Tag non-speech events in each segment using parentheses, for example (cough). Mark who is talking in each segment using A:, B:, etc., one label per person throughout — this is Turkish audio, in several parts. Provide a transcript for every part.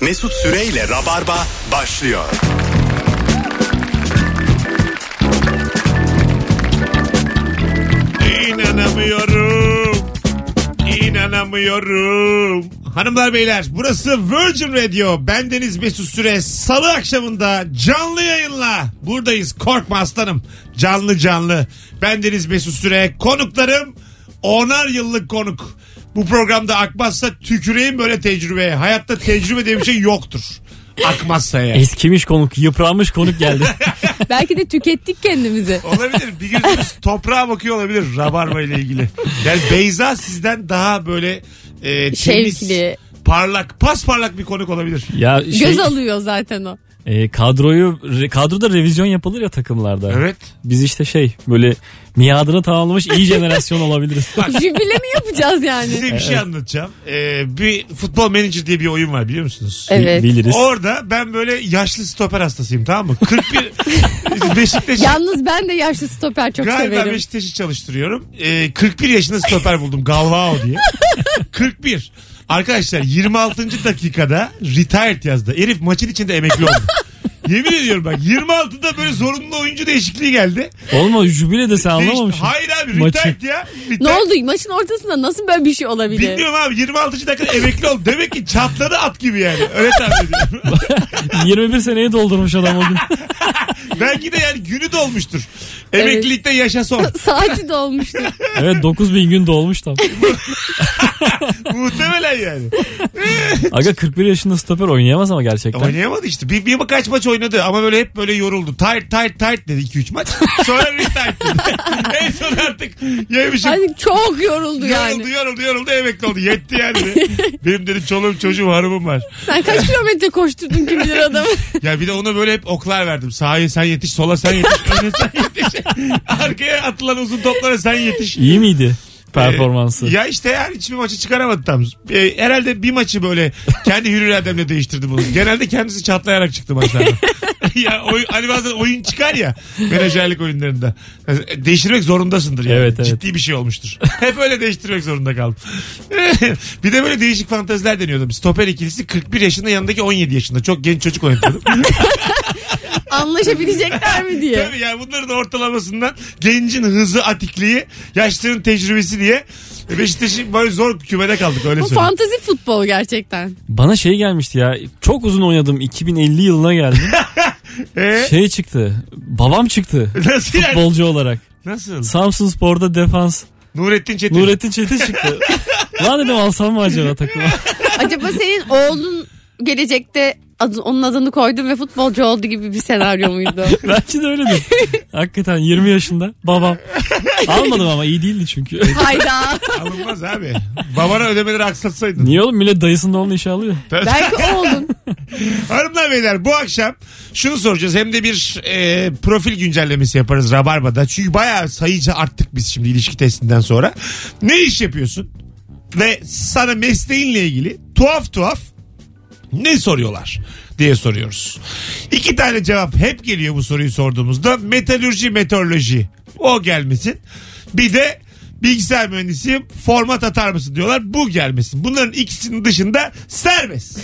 A: Mesut Süreyle Rabarba başlıyor.
B: İnanamıyorum. İnanamıyorum. Hanımlar beyler burası Virgin Radio. Bendeniz Mesut Süre. Salı akşamında canlı yayınla buradayız. Korkma aslanım. Canlı canlı. Bendeniz Mesut Süre. Konuklarım onar yıllık konuk. Bu programda akmazsa tüküreyim böyle tecrübeye. Hayatta tecrübe diye bir şey yoktur. Akmazsa ya.
C: Eskimiş konuk, yıpranmış
B: (laughs)
C: konuk geldi.
D: Belki de tükettik kendimizi.
B: Olabilir. Bir gözümüz toprağa bakıyor olabilir rabarba ile ilgili. Yani Beyza sizden daha böyle e, temiz,
D: Şevkli.
B: parlak, pasparlak bir konuk olabilir.
C: ya şey,
D: Göz alıyor zaten o.
C: e, kadroyu re- kadroda revizyon yapılır ya takımlarda.
B: Evet.
C: Biz işte şey böyle miadını tamamlamış
B: (laughs)
C: iyi jenerasyon olabiliriz.
D: Jübile mi yapacağız yani?
B: Size bir şey anlatacağım. E, bir futbol manager diye bir oyun var biliyor musunuz?
D: Evet.
C: Biliriz.
B: Orada ben böyle yaşlı stoper hastasıyım tamam mı? 41 Beşiktaş
D: Yalnız ben de yaşlı stoper çok
B: Galiba
D: severim.
B: Beşiktaş'ı çalıştırıyorum. Ee, 41 yaşında stoper buldum Galvao
D: (laughs)
B: diye. 41. Arkadaşlar 26. dakikada retired yazdı. Herif maçın içinde emekli
D: (laughs)
B: oldu. Yemin ediyorum bak 26'da böyle zorunlu oyuncu değişikliği geldi.
C: Olma jübile de sen
B: Değiş-
C: anlamamışsın.
B: Hayır abi
C: Maçı.
B: retired ya. Retired.
D: Ne oldu? Maçın ortasında nasıl böyle bir şey olabilir?
B: Bilmiyorum abi 26. dakikada emekli oldu. Demek ki çatladı at gibi yani. Öyle tahmin
D: (laughs)
B: ediyorum.
C: 21 seneyi doldurmuş
B: (laughs)
C: adam o gün.
B: Belki de yani günü dolmuştur. Emeklilikte yaşa
D: (laughs)
B: son.
D: Saati (laughs) dolmuştu.
C: Evet 9000 gün dolmuş tam.
B: Muhtemelen yani.
C: Aga 41 yaşında stoper oynayamaz ama gerçekten.
B: Oynayamadı işte. Bir, bir kaç maç oynadı ama böyle hep böyle yoruldu. Tired tired tired dedi 2-3 maç. (laughs) Sonra retired dedi. (laughs) en son artık yemişim.
D: Hani çok yoruldu
B: Yoruldu,
D: yani.
B: yoruldu, yoruldu, emekli oldu. Yetti yani. Benim dedi çoluğum çocuğum harımım var.
D: Sen kaç kilometre koşturdun kim bilir (laughs) adamı?
B: Ya bir de ona böyle hep oklar verdim. Sahaya sen yetiş, sola sen yetiş, öne sen yetiş. (laughs) Arkaya atılan uzun toplara sen yetiş.
C: İyi miydi performansı?
B: Ee, ya işte yani hiçbir maçı çıkaramadı tam. Ee, herhalde bir maçı böyle kendi hür irademle değiştirdi bunu. Genelde kendisi çatlayarak çıktı maçlarda.
C: (laughs)
B: ya oy, hani bazen oyun çıkar ya menajerlik oyunlarında. Yani Değiştirmek zorundasındır yani.
C: Evet, evet.
B: Ciddi bir şey olmuştur. Hep öyle değiştirmek zorunda kaldım. (laughs) bir de böyle değişik fanteziler deniyordum. Stoper ikilisi 41 yaşında yanındaki 17 yaşında. Çok genç çocuk oynatıyordum.
D: Anlaşabilecekler mi diye.
B: Tabii yani bunların da ortalamasından gencin hızı atikliği, yaşlının tecrübesi diye E, Beşiktaş'ın böyle zor kümede kaldık öyle
D: Bu
B: söyleyeyim.
D: fantazi futbol gerçekten.
C: Bana şey gelmişti ya. Çok uzun oynadım. 2050 yılına geldim.
B: Ee,
C: şey çıktı. Babam
B: (laughs)
C: çıktı.
B: nasıl yani?
C: Bolcu olarak.
B: Nasıl?
C: Samsun Spor'da defans.
B: Nurettin Çetin.
C: Nurettin
B: (laughs)
C: Çetin çıktı. Lan dedim alsam mı acaba takıma?
D: Acaba senin oğlun gelecekte adı- onun adını koydum ve futbolcu oldu gibi bir senaryo muydu?
C: Bence de öyledir. Hakikaten 20 yaşında babam. Almadım ama iyi
B: (laughs)
C: değildi çünkü.
D: Hayda.
B: Alınmaz abi. Babana ödemeleri aksatsaydın.
C: Niye oğlum millet dayısının oğlunu işe alıyor?
D: Belki oğlun.
B: (laughs) Hanımlar beyler bu akşam şunu soracağız. Hem de bir e, profil güncellemesi yaparız Rabarba'da. Çünkü bayağı sayıca arttık biz şimdi ilişki testinden sonra. Ne iş yapıyorsun? Ve sana mesleğinle ilgili tuhaf tuhaf ne soruyorlar diye soruyoruz. İki tane cevap hep geliyor bu soruyu sorduğumuzda. Metalürji, meteoroloji. O gelmesin. Bir de bilgisayar mühendisi format atar mısın diyorlar. Bu gelmesin. Bunların ikisinin dışında serbest.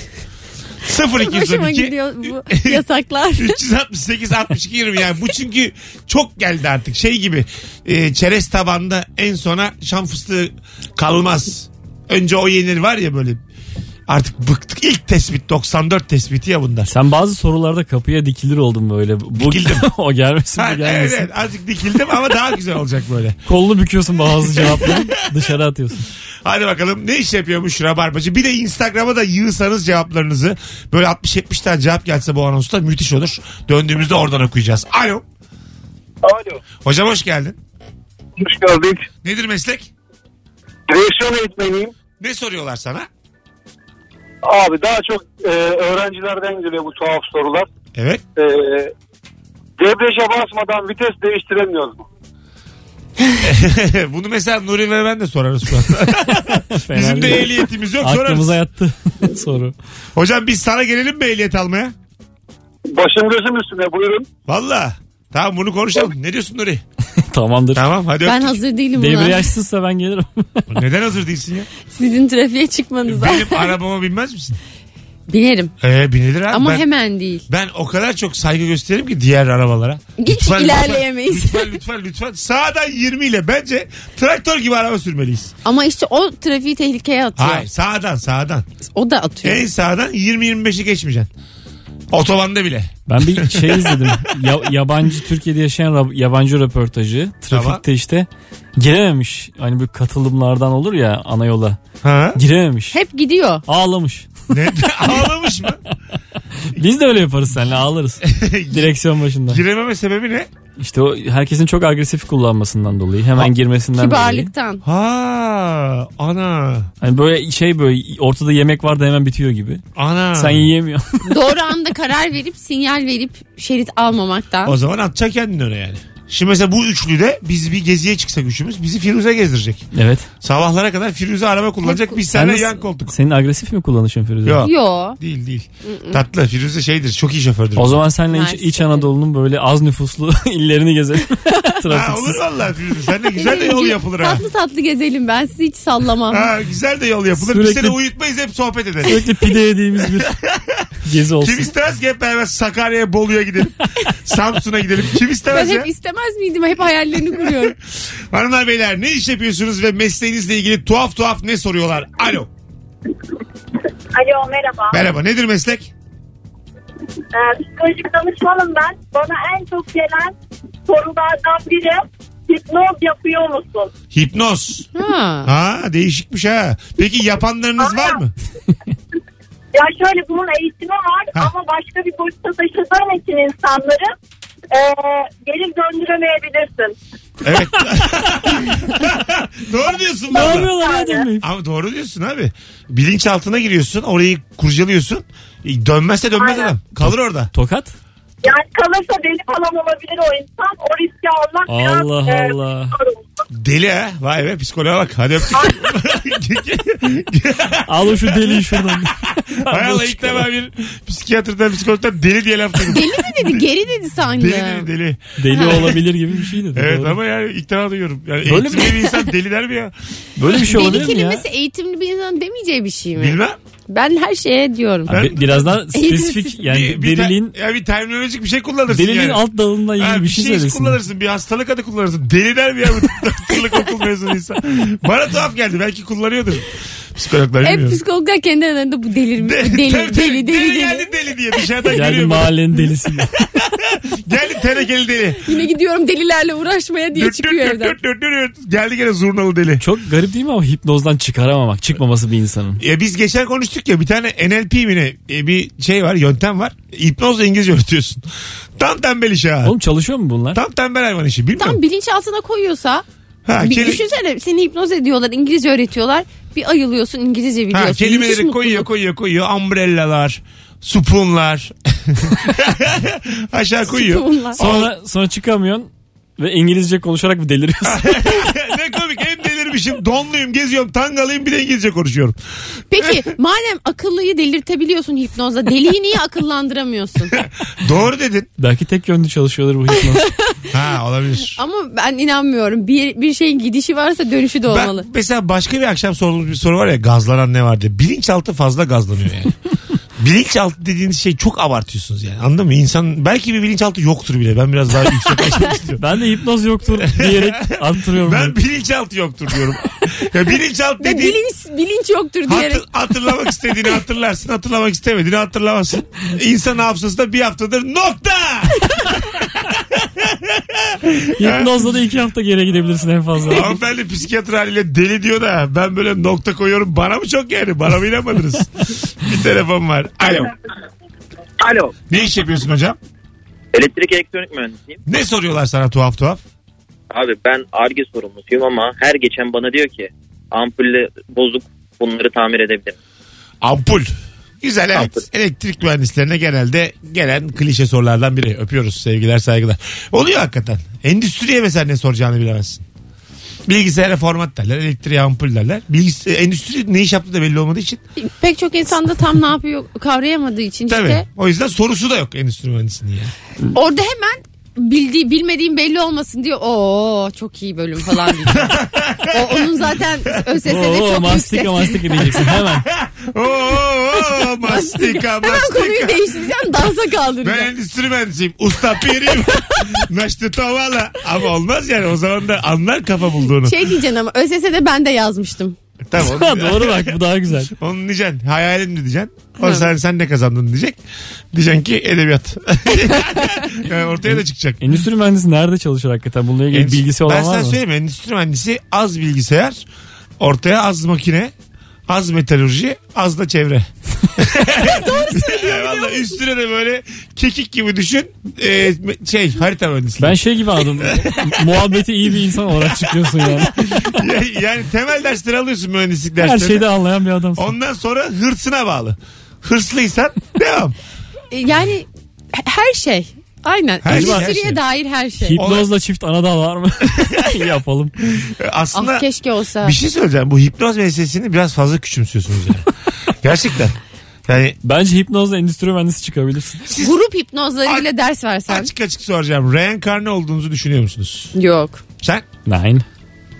B: 0212
D: (laughs) Hoşuma gidiyor
B: (laughs)
D: bu yasaklar.
B: 368 62 20 yani bu çünkü çok geldi artık şey gibi e, çerez tabanda en sona şam fıstığı kalmaz önce o yenir var ya böyle artık bıktık ilk tespit 94 tespiti ya bunda
C: Sen bazı sorularda kapıya dikilir oldun böyle. Bu,
B: Dikildim.
C: (laughs) o gelmesin
B: Ha,
C: bu
B: evet,
C: gelmesin.
B: evet azıcık dikildim ama daha güzel olacak böyle
C: Kolunu büküyorsun bazı cevapları dışarı atıyorsun.
B: hadi bakalım ne iş yapıyormuş Rabarbacı bir de Instagram'a da yığsanız cevaplarınızı böyle 60-70 tane cevap gelse bu anonsta müthiş olur döndüğümüzde oradan okuyacağız alo
E: Alo.
B: hocam hoş geldin
E: Hoş geldik.
B: nedir meslek
E: Direksiyon eğitmeniyim.
B: ne soruyorlar sana
E: Abi daha çok e, öğrencilerden geliyor bu tuhaf sorular.
B: evet (laughs)
E: E, debreşe basmadan vites değiştiremiyoruz mu?
B: Bunu mesela Nuri ve ben de sorarız şu an. Bizim
C: Fena
B: de
C: değil.
B: ehliyetimiz yok sorarız.
C: Aklımıza yattı (laughs)
B: (laughs)
C: soru.
B: Hocam biz sana gelelim mi ehliyet almaya?
E: Başım gözüm üstüne buyurun.
B: Valla. Tamam bunu konuşalım. Ne diyorsun Nuri?
C: Tamamdır.
B: Tamam hadi
D: Ben
B: öptük.
D: hazır değilim buna.
C: Debriyajsızsa ben gelirim.
B: Neden hazır değilsin ya?
D: Sizin trafiğe çıkmanıza.
B: Benim arabama binmez misin?
D: Binerim.
B: Ee, binilir abi.
D: Ama
B: ben,
D: hemen değil.
B: ben o kadar çok saygı gösteririm ki diğer arabalara.
D: Hiç ilerleyemeyiz.
B: Lütfen, lütfen lütfen. Sağdan 20 ile bence traktör gibi araba sürmeliyiz.
D: Ama işte o trafiği tehlikeye atıyor.
B: Hayır sağdan sağdan.
D: O da atıyor.
B: En sağdan 20-25'i geçmeyeceksin. Otobanda bile.
C: Ben bir şey izledim. Ya- yabancı Türkiye'de yaşayan ra- yabancı röportajı. Trafikte
B: Tamam.
C: işte girememiş. Hani bu katılımlardan olur ya ana yola.
B: Ha?
C: Girememiş.
D: Hep gidiyor.
C: Ağlamış.
B: Ne? (laughs) Ağlamış mı?
C: Biz de öyle yaparız
B: (laughs)
C: seninle ağlarız. Direksiyon başında.
B: Girememe sebebi ne?
C: İşte o herkesin çok agresif kullanmasından dolayı. Hemen girmesinden dolayı.
D: Kibarlıktan.
B: Ha ana
C: Hani böyle şey böyle ortada yemek var da hemen bitiyor gibi.
B: ana. (laughs)
C: Sen yiyemiyorsun.
D: Doğru anda karar verip sinyal verip şerit almamaktan.
B: O zaman atacak kendini öne yani. Şimdi mesela bu üçlüde biz bir geziye çıksak üçümüz bizi Firuze gezdirecek.
C: evet.
B: Sabahlara kadar Firuze araba kullanacak biz
C: Sen
B: seninle
C: nasıl-
B: yan koltuk.
C: Senin agresif mi kullanışın Firuze?
B: Yok
D: Yo.
B: değil değil. Tatlı Firuze şeydir çok iyi şofördür.
C: O zaman senle iç,
D: Nice.
C: İç Anadolu'nun böyle az nüfuslu (laughs) illerini gezelim.
B: Ha, olur
C: Trafiksiz.
B: valla Firuze seninle güzel de yol yapılır ha.
D: Tatlı tatlı gezelim ben sizi hiç sallamam.
B: Ha, güzel de yol yapılır. Biz
C: Sürekli-
B: seni uyutmayız hep sohbet ederiz.
C: Sürekli pide
B: (laughs)
C: yediğimiz bir gezi olsun.
B: Kim istemez ki hep beraber Sakarya'ya, Bolu'ya
C: (laughs)
B: gidelim. Samsun'a gidelim. Kim
D: Ben
B: istemez ya?
D: hep istemez miydim? Hep hayallerini kuruyorum.
B: Hanımlar beyler ne iş yapıyorsunuz ve mesleğinizle ilgili tuhaf tuhaf ne soruyorlar? Alo.
F: Alo merhaba.
B: Merhaba nedir meslek?
F: Ee, psikolojik danışmanım ben. Bana en çok gelen sorulardan biri hipnoz yapıyor musun?
B: Hipnoz.
D: Ha.
B: Ha değişikmiş ha. Peki yapanlarınız var mı?
F: Ya şöyle bunun eğitimi var
B: Ha.
F: ama başka bir boyutta taşıdığım için insanları e, geri döndüremeyebilirsin.
B: Evet. (laughs) doğru diyorsun
C: Ne
B: valla.
C: yapıyorlar ya Adem Bey?
B: Ama doğru diyorsun abi. Bilinçaltına giriyorsun orayı kurcalıyorsun. E, Dönmezse dönmez
F: Aynen.
B: adam. Kalır orada.
C: Tokat?
F: Yani kalırsa deli falan olabilir o insan. O riski almak
C: Allah
F: biraz... e,
C: Allah.
F: sorun.
B: Deli ha. Vay be psikoloğa bak. Hadi öptük.
C: Al o şu deliği şuradan.
B: (laughs) Hay Allah ilk defa bir psikiyatrdan psikologdan deli diye laf duydum.
D: Deli mi dedi? Geri dedi sanki.
B: Deli dedi deli. (laughs)
C: Deli olabilir gibi bir şey dedi.
B: Evet
C: Doğru.
B: ama yani ilk defa duyuyorum. Yani
C: Böyle
B: eğitimli bir insan deli der mi ya?
C: Böyle bir şey
D: Deli
C: olabilir mi ya?
D: kelimesi eğitimli bir insan demeyeceği bir şey mi?
B: Bilmem.
D: Ben her şeye diyorum.
C: Ha, bi- Biraz daha spesifik yani
B: bir, bir,
C: deliliğin
B: ter- ya bir terminolojik bir şey kullanırsın
C: deliliğin
B: yani.
C: alt dalından
B: Ha,
C: ilgili bir şey söylesin.
B: kullanırsın. Bir hastalık adı kullanırsın. Deli der mi ya bu
C: (laughs)
B: doktorluk okul mezunu insan? Bana tuhaf geldi. Belki kullanıyordur. Psikologlar
D: Hep
B: bilmiyorum.
D: psikologlar kendi aralarında bu delirmiş.
B: De- (laughs)
D: bu deli,
B: tabii,
D: deli, deli, deli,
B: geldi deli diye dışarıdan
C: Geldi
B: geliyor. böyle. (laughs)
C: mahallenin delisi.
B: Geldi tenekeli
D: (laughs)
B: deli.
D: Yine gidiyorum delilerle uğraşmaya diye
B: Dört,
D: çıkıyor
B: dört,
D: evden.
B: dört, dört, dört, dört. Geldi gene zurnalı deli.
C: Çok garip değil mi ama hipnozdan çıkaramamak, çıkmaması bir insanın.
B: Ya biz geçen konuştuk ya bir tane NLP mi ne E, bir şey var yöntem var. Hipnozla İngilizce öğretiyorsun. Tam tembel iş ha.
C: Oğlum çalışıyor mu bunlar?
B: Tam tembel hayvan işi bilmiyorum.
D: Tam bilinç altına koyuyorsa
B: ha,
D: bir
B: keli-
D: düşünsene seni hipnoz ediyorlar İngilizce öğretiyorlar bir ayılıyorsun İngilizce biliyorsun.
B: ha,
D: Müthiş
B: kelimeleri
D: mutluluk.
B: koyuyor koyuyor koyuyor. Umbrellalar, spoonlar. (laughs) Aşağı koyuyor.
D: (laughs) Bunlar.
C: Sonra sonra çıkamıyorsun ve İngilizce konuşarak mı deliriyorsun?
B: (laughs) (laughs) ne komik hem delirmişim donluyum geziyorum tangalıyım bir de İngilizce konuşuyorum.
D: Peki madem akıllıyı delirtebiliyorsun hipnozla deliyi
B: (laughs)
D: niye akıllandıramıyorsun?
B: Doğru dedin.
C: Belki tek yönlü çalışıyorlar bu hipnoz.
B: Ha olabilir.
D: Ama ben inanmıyorum. Bir, bir şeyin gidişi varsa dönüşü de olmalı.
B: Ben, mesela başka bir akşam sorduğumuz bir soru var ya gazlanan ne var diye. Bilinçaltı fazla gazlanıyor
D: (laughs)
B: yani. bilinçaltı dediğiniz şey çok abartıyorsunuz yani anladın mı? İnsan belki bir bilinçaltı yoktur bile. Ben biraz daha yüksek açmak
D: (laughs)
B: istiyorum.
C: ben de hipnoz yoktur diyerek arttırıyorum.
B: Ben
C: Ben...
B: bilinçaltı yoktur
D: (laughs)
B: diyorum. ya bilinçaltı
D: Ya
B: dediğin
D: bilinç, bilinç yoktur diyerek.
B: Hatır-
D: (laughs)
B: hatırlamak istediğini hatırlarsın, hatırlamak istemediğini hatırlamazsın. İnsan hafızası da bir haftadır nokta.
C: Hipnozla da iki hafta geri gidebilirsin en fazla.
D: (laughs)
B: Hanımefendi psikiyatr haliyle deli diyor da ben böyle nokta koyuyorum. Bana mı çok yani? Bana mı inanmadınız? bir telefon var. Alo.
G: Alo.
B: Ne iş yapıyorsun hocam?
G: Elektrik elektronik mühendisiyim.
B: Ne soruyorlar sana tuhaf tuhaf?
G: Abi ben ARGE sorumlusuyum ama her geçen bana diyor ki ampulle bozuk bunları tamir edebilirim.
B: Ampul. Güzel evet.
G: Ampul.
B: Elektrik mühendislerine genelde gelen klişe sorulardan biri. Öpüyoruz sevgiler saygılar. Oluyor hakikaten. Endüstriye mesela ne soracağını bilemezsin. Bilgisayara format derler, elektriğe ampul derler. Bilgis e, endüstri ne iş yaptığı da belli olmadığı için.
D: Pek çok insan da tam ne yapıyor kavrayamadığı için
B: Tabii.
D: işte.
B: O yüzden sorusu da yok endüstri mühendisinin yani.
D: Orada hemen bildiği bilmediğim belli olmasın diyor. Oo çok iyi bölüm falan
B: (laughs)
D: diyeceğim. o, onun zaten ÖSS'de
C: Oo,
D: çok yüksek.
C: mastika mastika diyeceksin
D: (laughs)
C: hemen.
B: Oo, oo, mastika
D: Hemen konuyu
B: mastika.
D: değiştireceğim dansa
B: Ben
D: kaldıracağım.
B: endüstri mühendisiyim. Usta
D: (laughs)
B: pirim. Naştı tavala. Ama olmaz yani. O zaman da anlar kafa bulduğunu.
D: Şey diyeceksin ama ÖSS'de ben de yazmıştım.
B: Tamam.
D: (laughs)
C: Ha, Doğru bak bu daha güzel.
B: Onu diyeceksin. Hayalim de diyeceksin. O
D: Evet.
B: sen, sen ne kazandın diyecek. Diyeceksin ki edebiyat. (laughs) yani ortaya da çıkacak.
C: Endüstri mühendisi nerede çalışır hakikaten? Bununla ilgili bilgisi olan
B: ben
C: var
B: sana
C: mı?
B: söyleyeyim. Endüstri mühendisi az bilgisayar. Ortaya az makine. Az metalurji, az da
C: (laughs)
B: çevre. Doğru söylüyorsun. Valla üstüne de böyle kekik gibi düşün. Ee, şey harita mühendisliği.
C: Ben şey gibi
B: (laughs)
C: aldım. Muhabbeti iyi bir insan olarak çıkıyorsun yani.
B: Ya- (laughs) yani temel dersleri alıyorsun mühendislik
C: Her
B: derslerini.
C: şeyde anlayan bir adamsın.
B: Ondan sonra hırsına bağlı. Hırslıysan devam.
D: E, Yani her şey. Aynen.
B: Her şey, her
D: Endüstriye
B: şey.
D: dair her şey.
C: Hipnozla çift anadal
B: (laughs)
C: var mı? Yapalım.
B: Aslında
D: Ah keşke olsa.
B: bir şey söyleyeceğim. Bu hipnoz meselesini biraz fazla küçümsüyorsunuz
D: (laughs)
B: yani. Gerçekten. Yani
C: Bence hipnozla endüstri mühendisi çıkabilirsin.
B: şey-
D: Grup hipnozlarıyla ders versen.
B: açık açık soracağım. Reenkarne olduğunuzu düşünüyor musunuz?
D: Yok.
B: Sen?
C: Nein.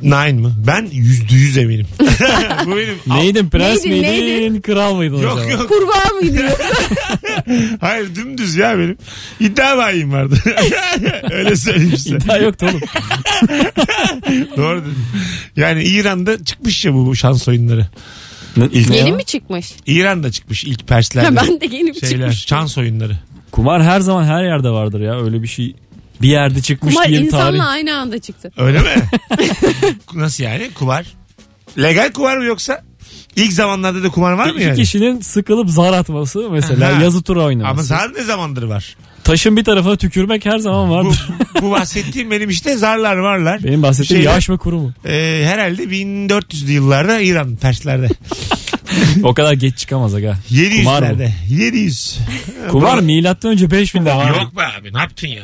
B: Nine mı? Ben yüzde yüz eminim. (laughs) Bu benim.
C: Neydin prens
D: Neydin,
C: miydin
D: neydin?
C: kral mıydın
B: Yok
C: (laughs) acaba?
B: yok.
D: Kurbağa
B: (laughs)
D: mı gidiyor?
B: Hayır dümdüz ya benim. İddia bayim vardı. (laughs) Öyle söyleyeyim size.
C: İddia yoktu oğlum.
B: Doğru dedim. Yani İran'da çıkmış ya bu şans oyunları.
C: İlk-
D: Yeni mi çıkmış?
B: İran'da çıkmış ilk Perslerle.
D: Ha, (laughs) ben de yeni mi
B: Şeyler,
D: çıkmış?
B: şans oyunları.
C: Kumar her zaman her yerde vardır ya öyle bir şey. Bir yerde çıkmış
D: Kumar
C: diye bir
D: insanla
C: tarih.
D: aynı anda çıktı.
B: Öyle mi? (laughs) Nasıl yani? Kumar. Legal kumar mı yoksa? İlk zamanlarda da kumar var mı
C: İki
B: yani?
C: kişinin sıkılıp zar atması mesela
B: Ha.
C: yazı tura oynaması.
B: Ama zar ne zamandır var?
C: Taşın bir tarafına tükürmek her zaman
B: Bu,
C: vardır.
B: bu bahsettiğim benim işte zarlar varlar.
C: (laughs) Benim bahsettiğim
B: Şeyler,
C: yaş ve kuru mu?
B: e, herhalde 1400'lü yıllarda İran Perslerde.
C: O kadar geç çıkamaz aga. Kumar mı?
B: 700'lerde. 700.
C: Kumar milattan önce 5000'de var.
B: Yok be abi ne yaptın ya?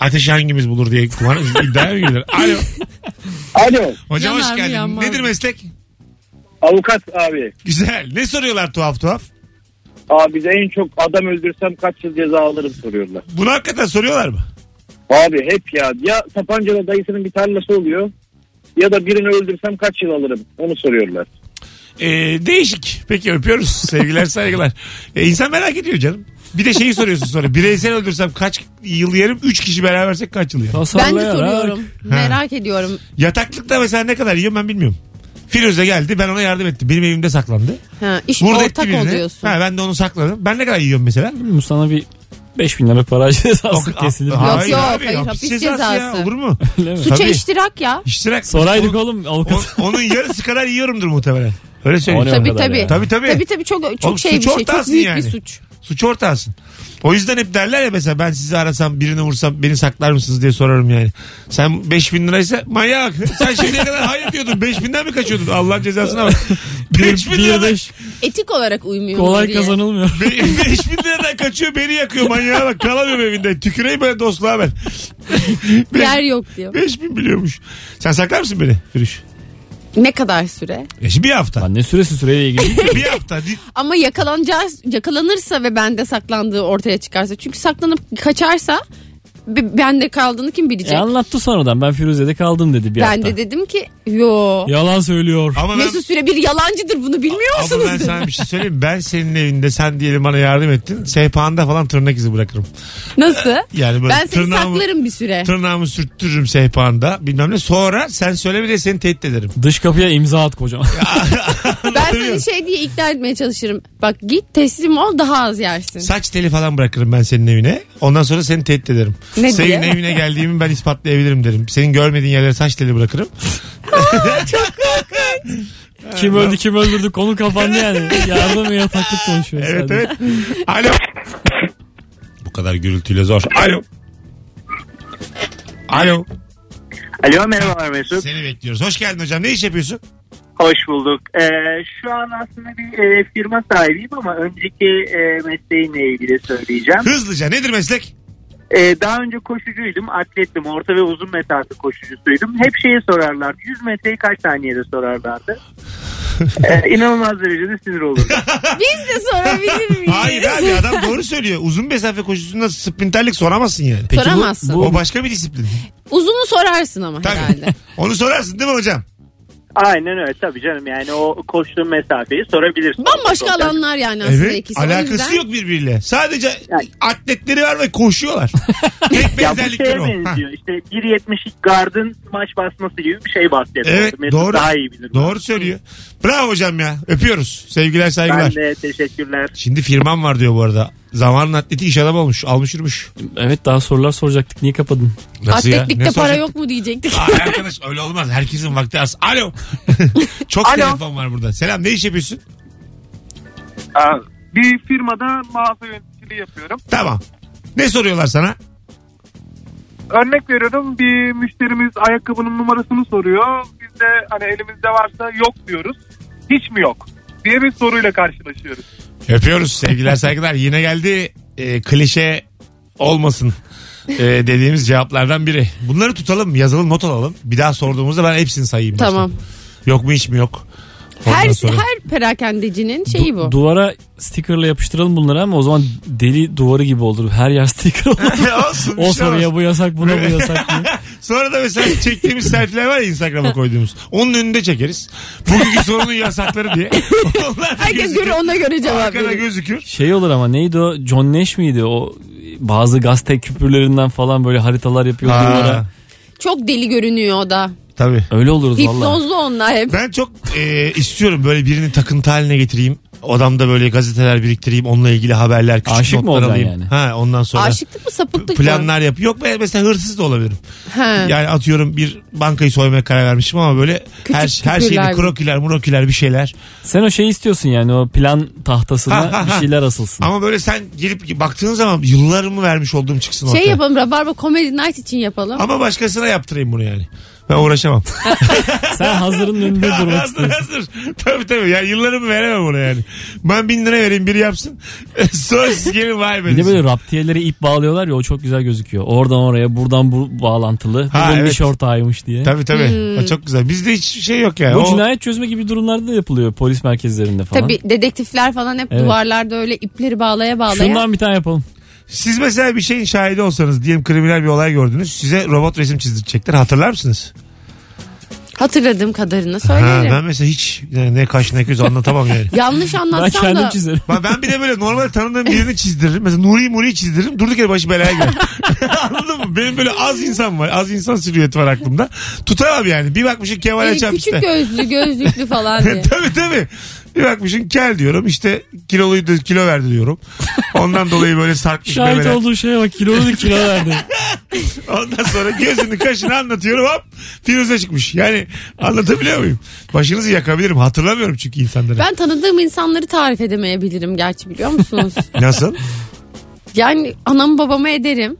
B: Ateşi hangimiz bulur diye kumar (laughs) iddiaya mı gidilir? Alo.
E: Alo
B: Hocam
D: Yanar
B: hoş
D: mı,
B: geldin.
D: yanmaz
B: Nedir
D: mı?
B: meslek?
E: avukat abi.
B: Güzel. Ne soruyorlar tuhaf tuhaf?
E: Abi bize en çok adam öldürsem kaç yıl ceza alırım soruyorlar.
B: Bunu hakikaten soruyorlar mı?
E: Abi hep ya ya Sapanca'da dayısının bir tarlası oluyor ya da birini öldürsem kaç yıl alırım onu soruyorlar.
B: Ee, değişik. Peki öpüyoruz.
C: (laughs)
B: Sevgiler saygılar. E, insan merak ediyor canım. Bir de şeyi soruyorsun sonra. Bireysel öldürsem kaç yıl yerim? Üç kişi berabersek kaç yıl yerim?
D: Ben de
C: Sallayarak.
D: soruyorum. Merak ediyorum.
B: Yataklıkta mesela ne kadar yiyorum ben bilmiyorum. Firuze geldi ben ona yardım ettim. Benim evimde saklandı.
D: Ha, iş
B: Burada etti
D: ortak
B: birini.
D: oluyorsun.
B: Ha, ben de onu sakladım. Ben ne kadar yiyorum mesela? ah,
C: Bu sana bir 5000 lira para cezası kesilir.
D: Yok,
B: Hayır
D: yok,
B: abi,
D: hayır,
B: hapis
D: hapis
B: cezası,
D: cezası.
B: ya olur
C: (laughs)
B: mu?
C: Öyle mi?
D: Suça
B: Tabii.
D: iştirak ya.
B: İştirak.
C: Soraydık
B: O-
C: oğlum
B: o-
C: avukat.
B: onun yarısı kadar yiyorumdur muhtemelen. Öyle söyleyeyim.
C: O ne
D: Tabii
C: kadar
D: tabii.
C: ya?
B: Tabii tabii.
D: Tabii tabii çok çok
B: Oğlum,
D: şey bir
B: suç
D: şey. Çok
B: ortağısın
D: büyük
B: yani.
D: bir suç.
B: Suç ortağısın. O yüzden hep derler ya mesela ben sizi arasam birini vursam beni saklar mısınız diye sorarım yani. Sen 5000 liraysa manyak. Sen şimdiye kadar hayır diyordun. 5000'den mi kaçıyordun? Allah cezasına bak. 5000
C: (laughs) Bir
B: (laughs) liradan,
C: beş
D: Etik olarak uymuyor.
C: kolay
D: diye.
C: kazanılmıyor.
B: Be- 5000 liradan kaçıyor beni yakıyor manyağa bak. Kalamıyorum evinde. Tüküreyim ben dostluğa
C: (laughs)
B: ben.
D: Yer yok diyor.
B: 5000 biliyormuş. Sen saklar mısın beni Firuş?
D: Ne kadar süre?
B: E şimdi bir hafta.
C: (laughs) Lan ne süresi süreyle
D: (laughs)
C: ilgili.
B: bir hafta. Di-
D: Ama yakalanacağı, yakalanırsa ve bende saklandığı ortaya çıkarsa. Çünkü saklanıp kaçarsa be- bende kaldığını kim bilecek?
C: e anlattı sonradan ben Firuze'de kaldım dedi bir
D: ben
C: hafta.
D: de dedim ki yo.
C: Yalan söylüyor.
B: Ama ben,
D: Mesut Süre bir yalancıdır bunu bilmiyor
B: ama
D: musunuz?
B: ben sana bir şey söyleyeyim. mi? Ben senin evinde sen diyelim bana yardım ettin. Sehpanda falan tırnak izi bırakırım.
D: (laughs) Nasıl?
B: E, Yani böyle
D: Ben seni
B: tırnağımı-
D: saklarım bir süre.
B: tırnağımı sürttürürüm sehpanda bilmem ne. Sonra sen söyleme diye seni tehdit ederim.
C: Dış kapıya imza at
B: (laughs)
C: kocaman.
D: Ben
B: Hatırlıyorum.
D: seni şey diye ikna etmeye çalışırım. Bak git teslim ol daha az yersin.
B: Saç teli falan bırakırım ben senin evine. Ondan sonra seni tehdit ederim.
D: Ne
B: senin
D: diye?
B: evine geldiğimi ben ispatlayabilirim derim. Senin görmediğin yerlere saç teli bırakırım.
C: kim öldü kim öldürdü konu kapandı yani. (laughs) Yardım ve yataklık konuşuyoruz.
B: Evet
C: sadece.
B: evet. Alo. Bu kadar gürültüyle zor. Alo. Alo.
H: Alo merhabalar Mesut.
B: Seni bekliyoruz. Hoş geldin hocam. Ne iş yapıyorsun?
H: Hoş bulduk. Ee, şu an aslında bir e, firma sahibiyim ama önceki e, mesleğimle ilgili söyleyeceğim.
B: Hızlıca nedir meslek?
H: Ee, daha önce koşucuydum, atlettim, orta ve uzun mesafe koşucusuydum. Hep şeyi sorarlardı, 100 metreyi kaç saniyede sorarlardı. Ee, inanılmaz derecede sinir olurum.
D: Biz de sorabilir miyiz?
B: Hayır abi adam doğru söylüyor. Uzun mesafe koşusunda sprinterlik soramazsın yani.
C: Peki bu-
D: Soramazsın.
C: Bu,
B: O başka bir disiplin.
D: Uzunu sorarsın ama
B: Tabii.
D: herhalde.
B: Onu sorarsın değil mi hocam?
H: Aynen öyle tabii canım yani o koştuğun mesafeyi sorabilirsin.
D: Bambaşka alanlar yani aslında ikisi. O
B: Alakası
D: yüzden-
B: yok birbiriyle. Sadece
H: Yani-
B: atletleri var ve
H: (laughs)
B: koşuyorlar. Tek
H: Ya bu şeye
B: benzerlikleri o. Ha.
H: benziyor işte 1.70'lik gardın maç basması gibi bir şey bahsediyor.
B: Evet
H: Mesut
B: doğru.
H: Daha iyi bilir. bunu.
B: Doğru söylüyor. Bravo hocam ya. Öpüyoruz. Sevgiler saygılar.
H: Ben de teşekkürler.
B: Şimdi firmam var diyor bu arada. Zamanın atleti iş adamı olmuş. Almış yürümüş.
C: evet daha sorular soracaktık. Niye kapadın?
D: Atletlikte
B: Ne
D: para
B: soracak?
D: yok mu diyecektik.
B: Ay arkadaş öyle olmaz. Herkesin vakti az.
D: (laughs)
B: Alo. Çok
H: Alo.
B: telefon var burada. Selam ne iş yapıyorsun?
I: Ee, Bir firmada mağaza yöneticiliği yapıyorum.
B: Tamam. Ne soruyorlar sana?
I: Örnek veriyorum bir müşterimiz ayakkabının numarasını soruyor. Biz de hani elimizde varsa yok diyoruz. Hiç mi yok? diye bir soruyla karşılaşıyoruz.
B: Öpüyoruz sevgiler saygılar. Yine geldi e, klişe olmasın e, dediğimiz cevaplardan biri. Bunları tutalım yazalım not alalım. Bir daha sorduğumuzda ben hepsini sayayım. baştan.
D: Tamam.
B: Yok mu hiç mi yok. Ondan
D: Her şey-
B: sonra- (laughs)
D: her perakendecinin şeyi
C: Du-
D: bu.
C: Duvara stickerla yapıştıralım bunları ama o zaman deli duvarı gibi olur. Her yer sticker olur.
B: Olsun, (laughs) bir
C: o
B: şey olmaz.
C: soruya bu yasak buna bu yasak diye.
B: (laughs) Sonra da mesela çektiğimiz selfie'ler var ya Instagram'a koyduğumuz. Onun önünde çekeriz. Bugünkü sorunun yasakları diye. Onlar da
D: (laughs) Herkes
B: gözükür.
D: göre ona göre cevap
B: Arkada
D: verir.
B: gözükür.
C: Şey olur ama neydi o John Nash miydi o bazı gazete küpürlerinden falan böyle haritalar yapıyor duvara.
B: Ha,
D: Çok deli görünüyor o da.
B: tabii.
C: Öyle oluruz valla.
D: Hipnozlu onlar hep.
B: Ben çok e, istiyorum böyle birini takıntı haline getireyim. Odamda böyle gazeteler biriktireyim. Onunla ilgili haberler, küçük
C: Aşık mı
B: notlar
C: olacaksın
B: alayım.
C: yani?
B: Ha, ondan sonra
D: Aşıklık mı sapıklık mı?
B: planlar yap. Yok ben mesela hırsız da olabilirim.
D: He.
B: Yani atıyorum bir bankayı soymaya karar vermişim ama böyle
D: Küçük
B: her, her şeyini
D: tükürler.
B: krokiler, murokiler bir şeyler.
C: Sen o şey istiyorsun yani o plan tahtasına
B: (laughs)
C: bir şeyler asılsın.
B: Ama böyle sen gelip baktığın zaman yıllarımı vermiş olduğum çıksın ortaya.
D: Şey yapalım Rabarba Comedy Night için yapalım.
B: Ama başkasına yaptırayım bunu yani. Ben
C: (laughs)
B: uğraşamam.
C: Sen hazırın önünde
B: (laughs)
C: durmak
B: hazır
C: istiyorsun.
B: hazır. Tabii tabii. Yani yıllarımı veremem ona yani. Ben bin lira vereyim biri yapsın. (laughs) Sonra siz gelin vay be.
C: Bir de böyle raptiyelere ip bağlıyorlar ya o çok güzel gözüküyor. Oradan oraya buradan bu bağlantılı.
B: Ha,
C: Ha, Bunun
B: evet.
C: iş ortağıymış diye.
B: Tabii tabii. O çok güzel. Bizde hiçbir şey yok yani.
C: Bu
B: O-
C: cinayet çözme gibi durumlarda da yapılıyor polis merkezlerinde falan.
D: Tabii dedektifler falan hep
C: Evet.
D: duvarlarda öyle ipleri bağlaya bağlaya.
C: Şundan bir tane yapalım.
B: Siz mesela bir şeyin şahidi olsanız diyelim kriminal bir olay gördünüz. Size robot resim çizdirecekler. Hatırlar mısınız?
D: Hatırladığım kadarını
B: Ha,
D: söylerim.
B: ben mesela hiç yani ne kaş ne göz anlatamam
C: (laughs)
B: yani.
D: Yanlış
C: Ben
D: anlatsam
C: kendim
D: da
C: çizerim.
B: Ben, ben bir de böyle normal tanıdığım birini çizdiririm. Mesela Nuri Muri çizdiririm. Durduk yere başı belaya girer. (laughs) Anladın mı? Benim böyle az insan var. Az insan silüeti var aklımda. Tutamam yani. Bir bakmışım Kemal
C: Ee,
D: e,
B: Açam (laughs)
D: küçük
B: işte.
D: gözlü
B: (laughs)
D: gözlüklü falan diye.
B: tabii tabii. Bir bakmışım kel diyorum. İşte kiloluydu kilo verdi diyorum. Ondan dolayı böyle sarkmış
C: Şahit
B: memeler.
C: olduğu şeye bak kilolu kilo verdi.
B: (laughs) Ondan sonra gözünü kaşını anlatıyorum hop Firuze çıkmış. Yani anlatabiliyor muyum? Başınızı yakabilirim. Hatırlamıyorum çünkü insanları.
D: Ben tanıdığım insanları tarif edemeyebilirim gerçi
B: (laughs)
D: biliyor musunuz?
B: Nasıl?
D: yani anamı babama ederim.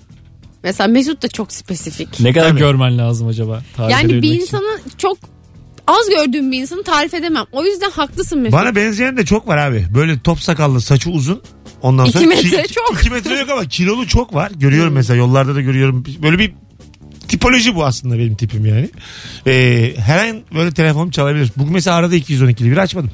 D: Mesela Mesut da çok spesifik.
C: Ne kadar
B: Tabii.
C: görmen lazım acaba? tarif
D: Yani bir
C: edebilmek için?
D: insanı çok az gördüğüm bir insanı tarif edemem. O yüzden haklısın Mesut.
B: Bana benzeyen de çok var abi. Böyle top sakallı saçı uzun. Ondan
D: İki
B: sonra
D: metre çok. Hmm.
B: 2 metre yok ama kilolu çok var. Görüyorum mesela yollarda da görüyorum. Böyle bir tipoloji bu aslında benim tipim yani. Ee, her an böyle telefonum çalabilir. Bugün mesela arada 212'li biri
D: (laughs)
B: açmadım.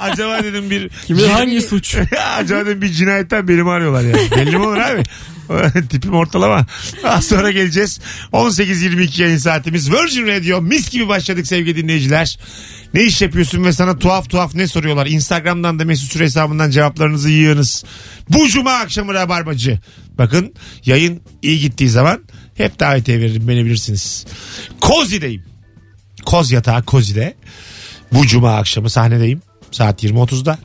B: Acaba dedim bir
C: Kimin hangi suç?
B: (laughs) Acaba dedim bir cinayetten beni mi arıyorlar yani? Belli mi olur abi? (laughs) Tipim ortalama. Az sonra geleceğiz. 18.22 yayın saatimiz. Virgin Radio mis gibi başladık sevgili dinleyiciler. Ne iş yapıyorsun ve sana tuhaf tuhaf ne soruyorlar? Instagram'dan da Mesut Süre hesabından cevaplarınızı yığınız. Bu cuma akşamı Rabarbacı. Bakın yayın iyi gittiği zaman hep davetiye veririm beni bilirsiniz. Kozi'deyim. Koz yatağı Kozi'de. Bu cuma akşamı sahnedeyim. Saat 20.30'da.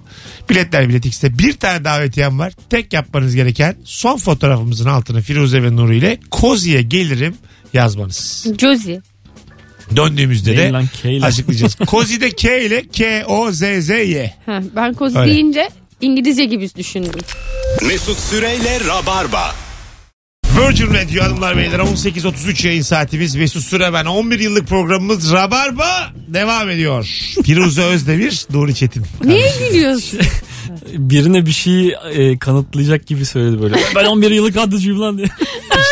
B: Biletler Bilet X'te bir tane davetiyem var. Tek yapmanız gereken son fotoğrafımızın altına Firuze ve Nuri ile Kozi'ye gelirim yazmanız.
D: Josie.
B: Döndüğümüzde
C: Değil
B: de
C: lan, K ile. (laughs)
B: açıklayacağız. Kozi'de K ile K-O-Z-Z-Y.
D: Heh, ben koz
B: Öyle.
D: deyince İngilizce gibi düşündüm.
A: Mesut Süreyle Rabarba.
B: Virgin Radio hanımlar beyler 18.33 yayın saatimiz Mesut Süre ben 11 yıllık programımız Rabarba devam ediyor. Firuze Özdemir, Nuri Çetin. (laughs)
D: Neye gülüyorsun?
C: birine bir şeyi e, kanıtlayacak gibi
B: (laughs)
C: söyledi böyle. Ben 11 yıllık kadrocuyum lan diye.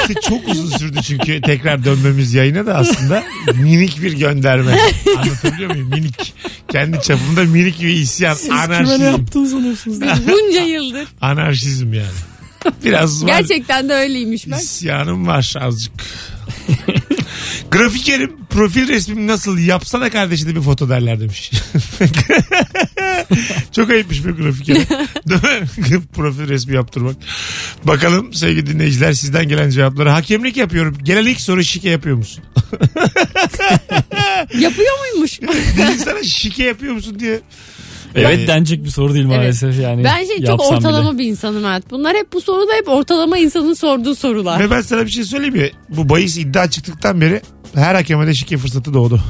B: İşte çok uzun sürdü çünkü tekrar dönmemiz yayına da aslında minik bir gönderme. Anlatabiliyor muyum? Minik. Kendi çapımda minik bir isyan.
C: Kime ne
B: Anarşizm.
C: yaptığını sanıyorsunuz diye.
D: Bunca yıldır.
B: Anarşizm yani. Biraz var.
D: Gerçekten de öyleymiş bak.
B: İsyanım var azıcık. Grafikerim profil resmimi nasıl yapsana kardeşi de bir foto derler demiş. (laughs) Çok ayıpmış bir grafikerim. Değil mi? (laughs) profil resmi yaptırmak. Bakalım sevgili dinleyiciler sizden gelen cevapları. Hakemlik yapıyorum. Gelen ilk soru şike yapıyor musun?
D: Yapıyor muymuş?
B: Bir insana şike yapıyor musun diye. Yani-
C: Evet denecek bir soru değil maalesef yani.
D: ben şey çok
C: Yapsam bile.
D: ortalama bir insanım evet. Bunlar hep bu soruda hep ortalama insanın sorduğu sorular.
B: Ve ben sana bir şey söyleyeyim mi? Bu bahis iddia çıktıktan beri her hakeme de şike fırsatı doğdu.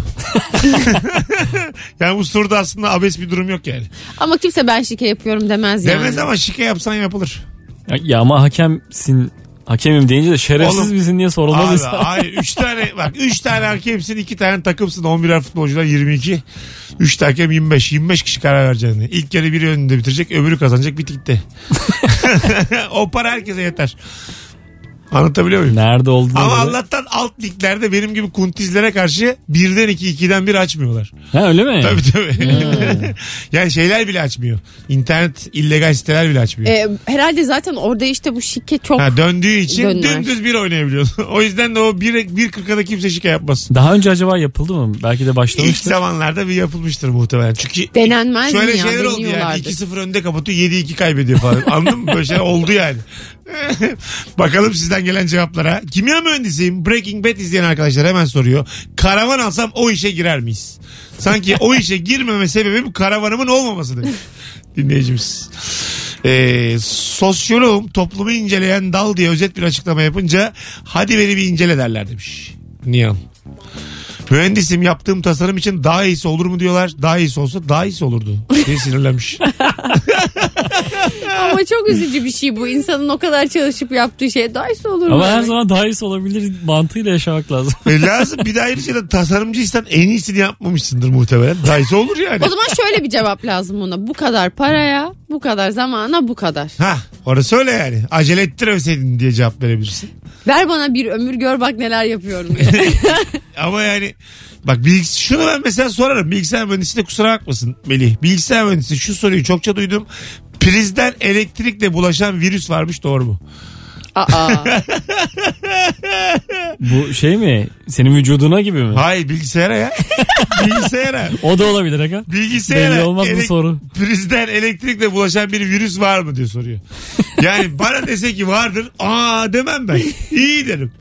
B: (laughs) yani bu soruda aslında abes bir durum yok yani.
D: Ama kimse ben şike yapıyorum demez yani.
B: Demez ama şike yapsan yapılır.
C: Ya, ya ama hakemsin hakemim deyince de şerefsiz
B: Oğlum,
C: misin diye sorulmaz
B: Abi,
C: insan.
B: hayır 3 tane bak 3 tane hakemsin 2 tane takımsın 11'er futbolcular 22. 3 hakem 25. 25 kişi karar vereceğini. İlk kere biri önünde bitirecek öbürü kazanacak bitti gitti. (laughs) o para herkese yeter. Anlatabiliyor muyum?
C: (laughs) Nerede olduğunu
B: Ama
C: da-
B: Allah'tan alt liglerde benim gibi kuntizlere karşı birden iki, ikiden bir açmıyorlar.
C: Ha öyle mi?
B: Tabii tabii. (laughs) yani şeyler bile açmıyor. İnternet illegal siteler bile açmıyor.
D: Ee, herhalde zaten orada işte bu şike çok.
B: Ha, döndüğü için
D: Dönmez.
B: dümdüz bir oynayabiliyorsun. (laughs) o yüzden de o 1.40'a da kimse şike yapmasın.
C: Daha önce acaba yapıldı mı? Belki de
B: İlk
C: başlamıştı.
B: zamanlarda bir yapılmıştır muhtemelen. Çünkü
D: Denenmez
B: şöyle
D: mi ya?
B: şeyler oldu yani.
D: Deniyorlardı.
B: 2-0 önde kapatıyor 7-2 kaybediyor falan. (laughs) Anladın mı? Böyle şeyler oldu yani. (laughs) Bakalım sizden gelen cevaplara. Kimya mühendisiyim. Breaking Bad izleyen arkadaşlar hemen soruyor. Karavan alsam o işe girer miyiz? Sanki
D: (laughs)
B: o işe girmeme sebebim karavanımın olmaması demiş. Dinleyicimiz. Ee, sosyoloğum toplumu inceleyen dal diye özet bir açıklama yapınca hadi beni bir incele derler demiş. Nihan. Mühendisim yaptığım tasarım için daha iyisi olur mu diyorlar. Daha iyisi olsa daha iyisi olurdu diye sinirlenmiş.
D: Ama çok üzücü bir şey bu. İnsanın o kadar çalışıp yaptığı şey. Daysa olur mu?
C: Ama her
D: demek?
C: zaman daha iyisi olabilir mantığıyla yaşamak lazım. (laughs)
B: e lazım bir de ayrıca da tasarımcıysan en iyisini yapmamışsındır muhtemelen. Daha iyisi olur yani.
D: O zaman şöyle bir cevap lazım buna. Bu kadar paraya, bu kadar zamana, bu kadar.
B: Ha orası öyle yani. Acele ettirmeseydin diye cevap verebilirsin. (laughs)
D: Ver bana bir ömür gör bak neler yapıyorum.
B: Ama yani bak bilgis şunu ben mesela sorarım. Bilgisayar mühendisi de kusura bakmasın Melih. Bilgisayar mühendisi şu soruyu çokça duydum. Prizden elektrikle bulaşan virüs varmış doğru mu?
D: Aa.
C: Bu şey mi? Senin vücuduna gibi mi?
B: Hayır bilgisayara ya. (laughs) bilgisayara.
C: O da olabilir aga.
B: Bilgisayara
C: Belli olmaz bu soru.
B: Prizden elektrikle bulaşan bir virüs var mı diye soruyor. Yani bana dese ki vardır. Aa demem ben. İyi derim.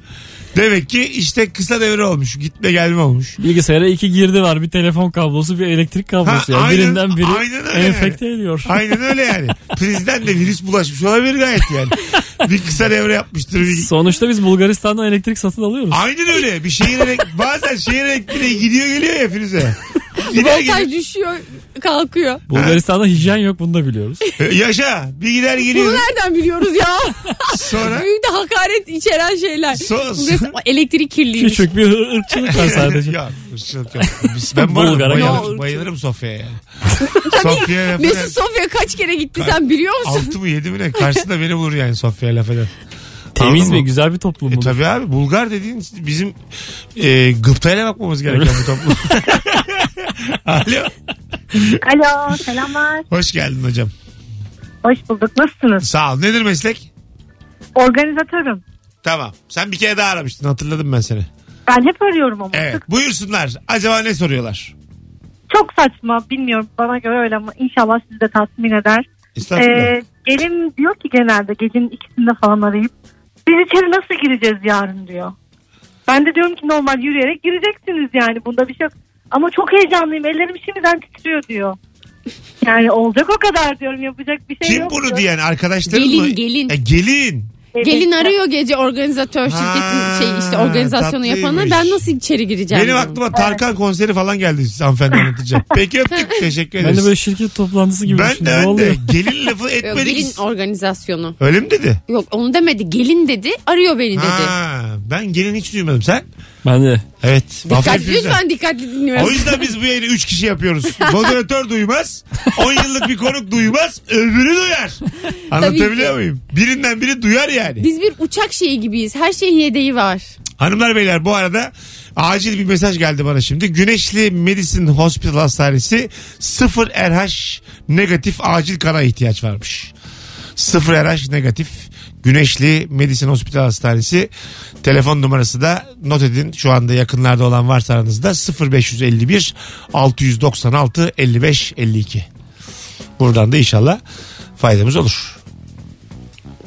B: Demek ki işte kısa devre olmuş. Gitme gelme olmuş.
C: Bilgisayara iki girdi var. Bir telefon kablosu, bir elektrik kablosu.
B: Ha,
C: ya.
B: aynen-
C: Birinden biri
B: aynen öyle.
C: enfekte ediyor.
B: Aynen öyle yani. Prizden de virüs bulaşmış olabilir gayet yani. Bir kısa devre yapmıştır. Bir...
C: Sonuçta biz Bulgaristan'dan elektrik satın alıyoruz.
B: Aynen öyle. Bir şehir elek- bazen şehir elektriği gidiyor geliyor ya Firuze. Gider
D: Voltaj
B: gelir.
D: düşüyor, kalkıyor.
C: Bulgaristan'da hijyen yok bunu da biliyoruz.
B: Yaşa. Bir gider
D: Bunu
B: geliyor.
D: nereden biliyoruz ya?
B: Sonra
D: Büyük de hakaret içeren şeyler.
B: So-
D: Bu mesela elektrik kirliymiş.
C: Küçük bir ır- ırkçılık var sadece.
B: ya, ırkçılık yok. Biz- ben bu arada
C: Bulgara
B: bayılırım,
C: yok.
B: bayılırım Sofya'ya. yani. Sofya'ya laf eder.
D: Mesut Sofya kaç kere gitti sen biliyor musun?
B: Altı mı yedi mi ne? Karşısında beni bulur yani Sofya'ya laf eden.
C: Temiz
B: Anladın
C: ve
B: mı?
C: güzel bir toplum
B: E
C: bu.
B: tabii abi Bulgar dediğin bizim e, gıptayla bakmamız gereken bir toplum.
C: (laughs)
B: Alo.
F: Alo selamlar.
B: Hoş geldin hocam.
F: Hoş bulduk. Nasılsınız?
B: Sağ ol. Nedir meslek?
F: Organizatörüm.
B: Tamam. Sen bir kere daha aramıştın. Hatırladım ben seni.
F: Ben hep arıyorum ama.
B: Evet. Buyursunlar. Acaba ne soruyorlar?
F: Çok saçma bilmiyorum bana göre öyle ama inşallah sizi de tatmin eder.
B: Estağfurullah.
F: Ee, gelin diyor ki genelde gecenin ikisinde falan arayıp biz içeri nasıl gireceğiz yarın diyor. Ben de diyorum ki normal yürüyerek gireceksiniz yani bunda bir şey yok. Ama çok heyecanlıyım ellerim şimdiden titriyor
B: (laughs)
F: diyor. Yani olacak o kadar diyorum yapacak bir şey
B: Kim
F: yok.
B: bunu
F: diyor.
B: diyen? Arkadaşların mı?
D: Gelin gelin.
B: E, gelin.
F: Evet.
D: Gelin arıyor gece
B: Ha,
D: organizatör şirketin şey işte organizasyonu yapanı
B: tatlıymış.
D: ben nasıl içeri gireceğim?
B: Benim
D: diyor.
B: aklıma Tarkan konseri falan geldi siz hanımefendi anlatacağım. Peki
D: (laughs)
B: öptük. Teşekkür
C: Ben
B: ederiz.
C: de böyle şirket toplantısı gibi
B: Ben de,
C: düşündüm. Ne
B: ben de
C: oluyor?
B: gelin lafı
D: (laughs) Yok,
B: etmedik.
D: gelin organizasyonu.
B: Öyle mi dedi?
D: Yok onu demedi gelin dedi arıyor beni dedi.
B: Ha, Ben gelin hiç duymadım. Sen?
C: Ben de.
B: Evet. Aferin
D: Dikkatli
B: Firuze.
D: lütfen dikkatli dinliyoruz.
B: O yüzden biz bu yayını 3 kişi yapıyoruz. Moderatör duymaz. 10 yıllık bir konuk duymaz. Öbürü duyar. Anlatabiliyor
D: ki.
B: muyum? Birinden biri duyar yani.
D: Biz bir uçak şeyi gibiyiz. Her şeyin yedeği var.
B: Hanımlar beyler bu arada acil bir mesaj geldi bana şimdi. Güneşli Medicine Hospital Hastanesi 0 RH negatif acil kana ihtiyaç varmış. 0 RH negatif Güneşli Medicine Hospital Hastanesi telefon numarası da not edin. Şu anda yakınlarda olan varsa aranızda 0551 696 55 52. Buradan da inşallah faydamız olur.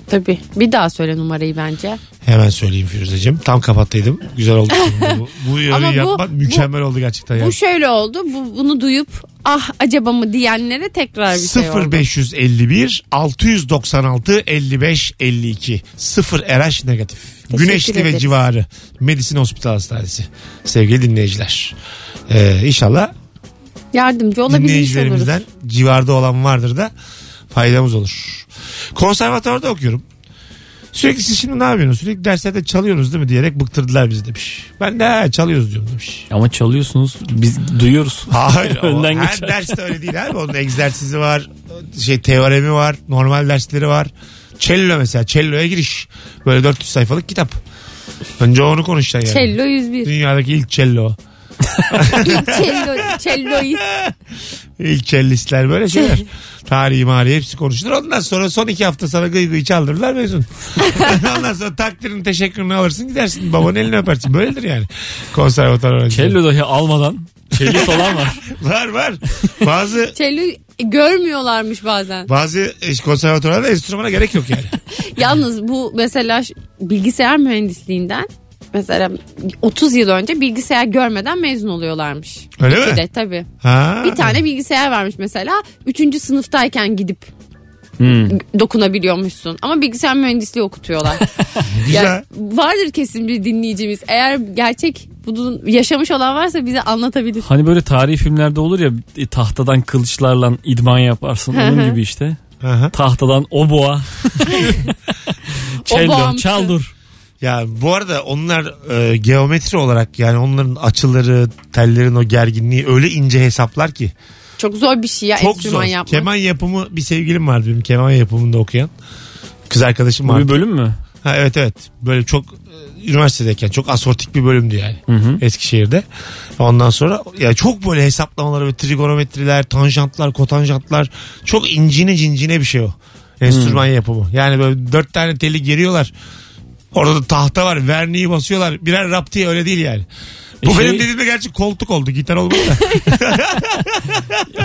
D: Tabii. Bir daha söyle numarayı bence.
B: Hemen söyleyeyim Firuze'cim. Tam kapattıydım. Güzel
D: (laughs)
B: oldu şimdi bu. Bu
D: Ama
B: yarıyı
D: bu-
B: yapmak
D: bu-
B: mükemmel oldu gerçekten. Yani.
D: Bu şöyle oldu. Bu, bunu duyup ah acaba mı diyenlere tekrar bir şey oldu.
B: 0551 696 55 52 0 RH negatif. Güneşli ve
D: ederiz.
B: civarı Medisin Hospital Hastanesi. Sevgili dinleyiciler. Ee, inşallah
D: Yardımcı olabilmiş oluruz.
B: dinleyicilerimizden civarda olan vardır da faydamız olur. Konservatuvarda okuyorum. Sürekli siz şimdi ne yapıyorsunuz? Sürekli derslerde çalıyorsunuz değil mi diyerek bıktırdılar bizi demiş. Ben de "Ha, çalıyoruz diyorum demiş.
C: Ama çalıyorsunuz. Biz duyuyoruz. (laughs)
B: Hayır. o
C: Önden
B: her
C: geçer.
B: derste öyle değil abi. Onun egzersizi var. Şey teoremi var. Normal dersleri var. Cello mesela. Cello'ya giriş. Böyle 400 sayfalık kitap. Önce onu konuşacaksın yani. (laughs)
D: Cello 101.
B: Dünyadaki ilk cello.
D: İlk cello, celloist.
B: İlk cellistler böyle şeyler. Tarihi mari hepsi konuşulur. Ondan sonra son iki hafta sana gıy gıy çaldırırlar mezun. Ondan sonra takdirini teşekkürünü alırsın gidersin. Babanın elini öpersin. Böyledir yani. Konservatuar öğrencileri.
C: Kello dahi almadan.
B: (laughs)
C: Çelis olan var.
B: Var var. Bazı
D: Cello e, görmüyorlarmış bazen.
B: bazı konservatuarlarda enstrümana gerek yok yani.
D: Yalnız bu mesela ş- bilgisayar mühendisliğinden mesela 30 yıl önce bilgisayar görmeden mezun oluyorlarmış.
B: Öyle mi?
D: Bir de tabii.
B: Eh. Ha.
D: Bir tane bilgisayar varmış mesela. Üçüncü sınıftayken gidip
B: Hmm.
D: dokunabiliyormuşsun. Ama bilgisayar mühendisliği okutuyorlar.
B: (laughs) Güzel.
D: Yani vardır kesin bir dinleyicimiz. Eğer gerçek bunu yaşamış olan varsa bize anlatabilir.
C: Hani böyle tarihi filmlerde olur ya e, tahtadan kılıçlarla idman yaparsın. Onun gibi işte.
B: Aha.
C: Tahtadan oboa. Cello.
D: Oboamsı.
C: Çal dur.
B: Ya bu arada onlar e, geometri olarak yani onların açıları, tellerin o gerginliği öyle ince hesaplar ki.
D: Çok zor bir şey ya
B: Çok
D: enstrüman
B: zor.
D: yapmak.
B: Keman yapımı bir sevgilim vardı benim keman yapımında okuyan. Kız arkadaşım
C: Bu
B: vardı.
C: bir bölüm mü?
B: Ha, evet evet. Böyle çok e, üniversitedeyken çok asortik bir bölümdü yani. Eskişehir'de. Ondan sonra ya çok böyle hesaplamaları ve trigonometriler, tanjantlar, kotanjantlar çok incine cincine bir şey o. Enstrüman yapımı. Yani böyle dört tane teli geriyorlar. Orada da tahta var. Verniği basıyorlar. Birer rap diye öyle değil yani. Bu
C: E, şey-
B: benim dediğimde gerçi koltuk oldu. Gitar olmadı da.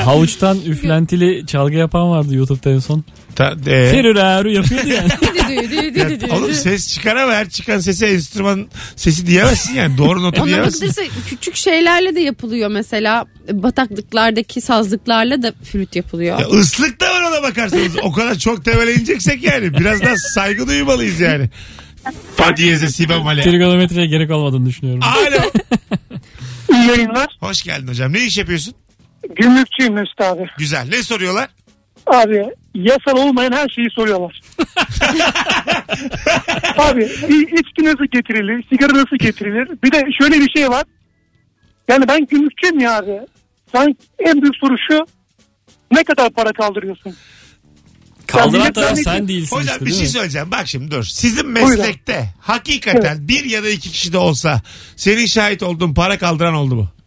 C: Havuçtan üflentili çalgı yapan vardı YouTube'da en son.
B: Ta- e,
C: Ferüraru yapıyordu yani.
D: (laughs) Dü- dü- dü- dü- dü- dü-
B: (laughs)
D: dü-
B: Oğlum ses çıkar ama her çıkan sese enstrüman sesi diyemezsin yani. Doğru notu
D: Ona
B: diyemezsin.
D: bakılırsa küçük şeylerle de yapılıyor mesela bataklıklardaki sazlıklarla da flüt yapılıyor.
B: Ya ıslık da var ona bakarsanız. O kadar çok temele ineceksek yani. Biraz daha saygı duymalıyız yani. Fa diyeze si bemole.
C: Trigonometriye gerek olmadığını düşünüyorum.
B: Alo.
I: İyi yayınlar.
B: Hoş geldin hocam. Ne iş yapıyorsun?
I: Gümrükçüyüm Mesut abi.
B: Güzel. Ne soruyorlar?
I: Abi yasal olmayan her şeyi soruyorlar. abi bir içki nasıl getirilir? Sigara nasıl getirilir? Bir de şöyle bir şey var. Yani ben gümrükçüyüm ya abi. Sanki en büyük soru şu. Ne kadar para kaldırıyorsun?
C: Kaldıran
I: millet
C: taraf
I: zannediyor-
C: sen değilsin
B: Hocam
C: işte
B: bir
C: değil
B: şey
C: mi?
B: söyleyeceğim. Bak şimdi dur. Sizin meslekte hakikaten bir ya da iki kişi de olsa senin şahit olduğun para kaldıran oldu mu? (laughs)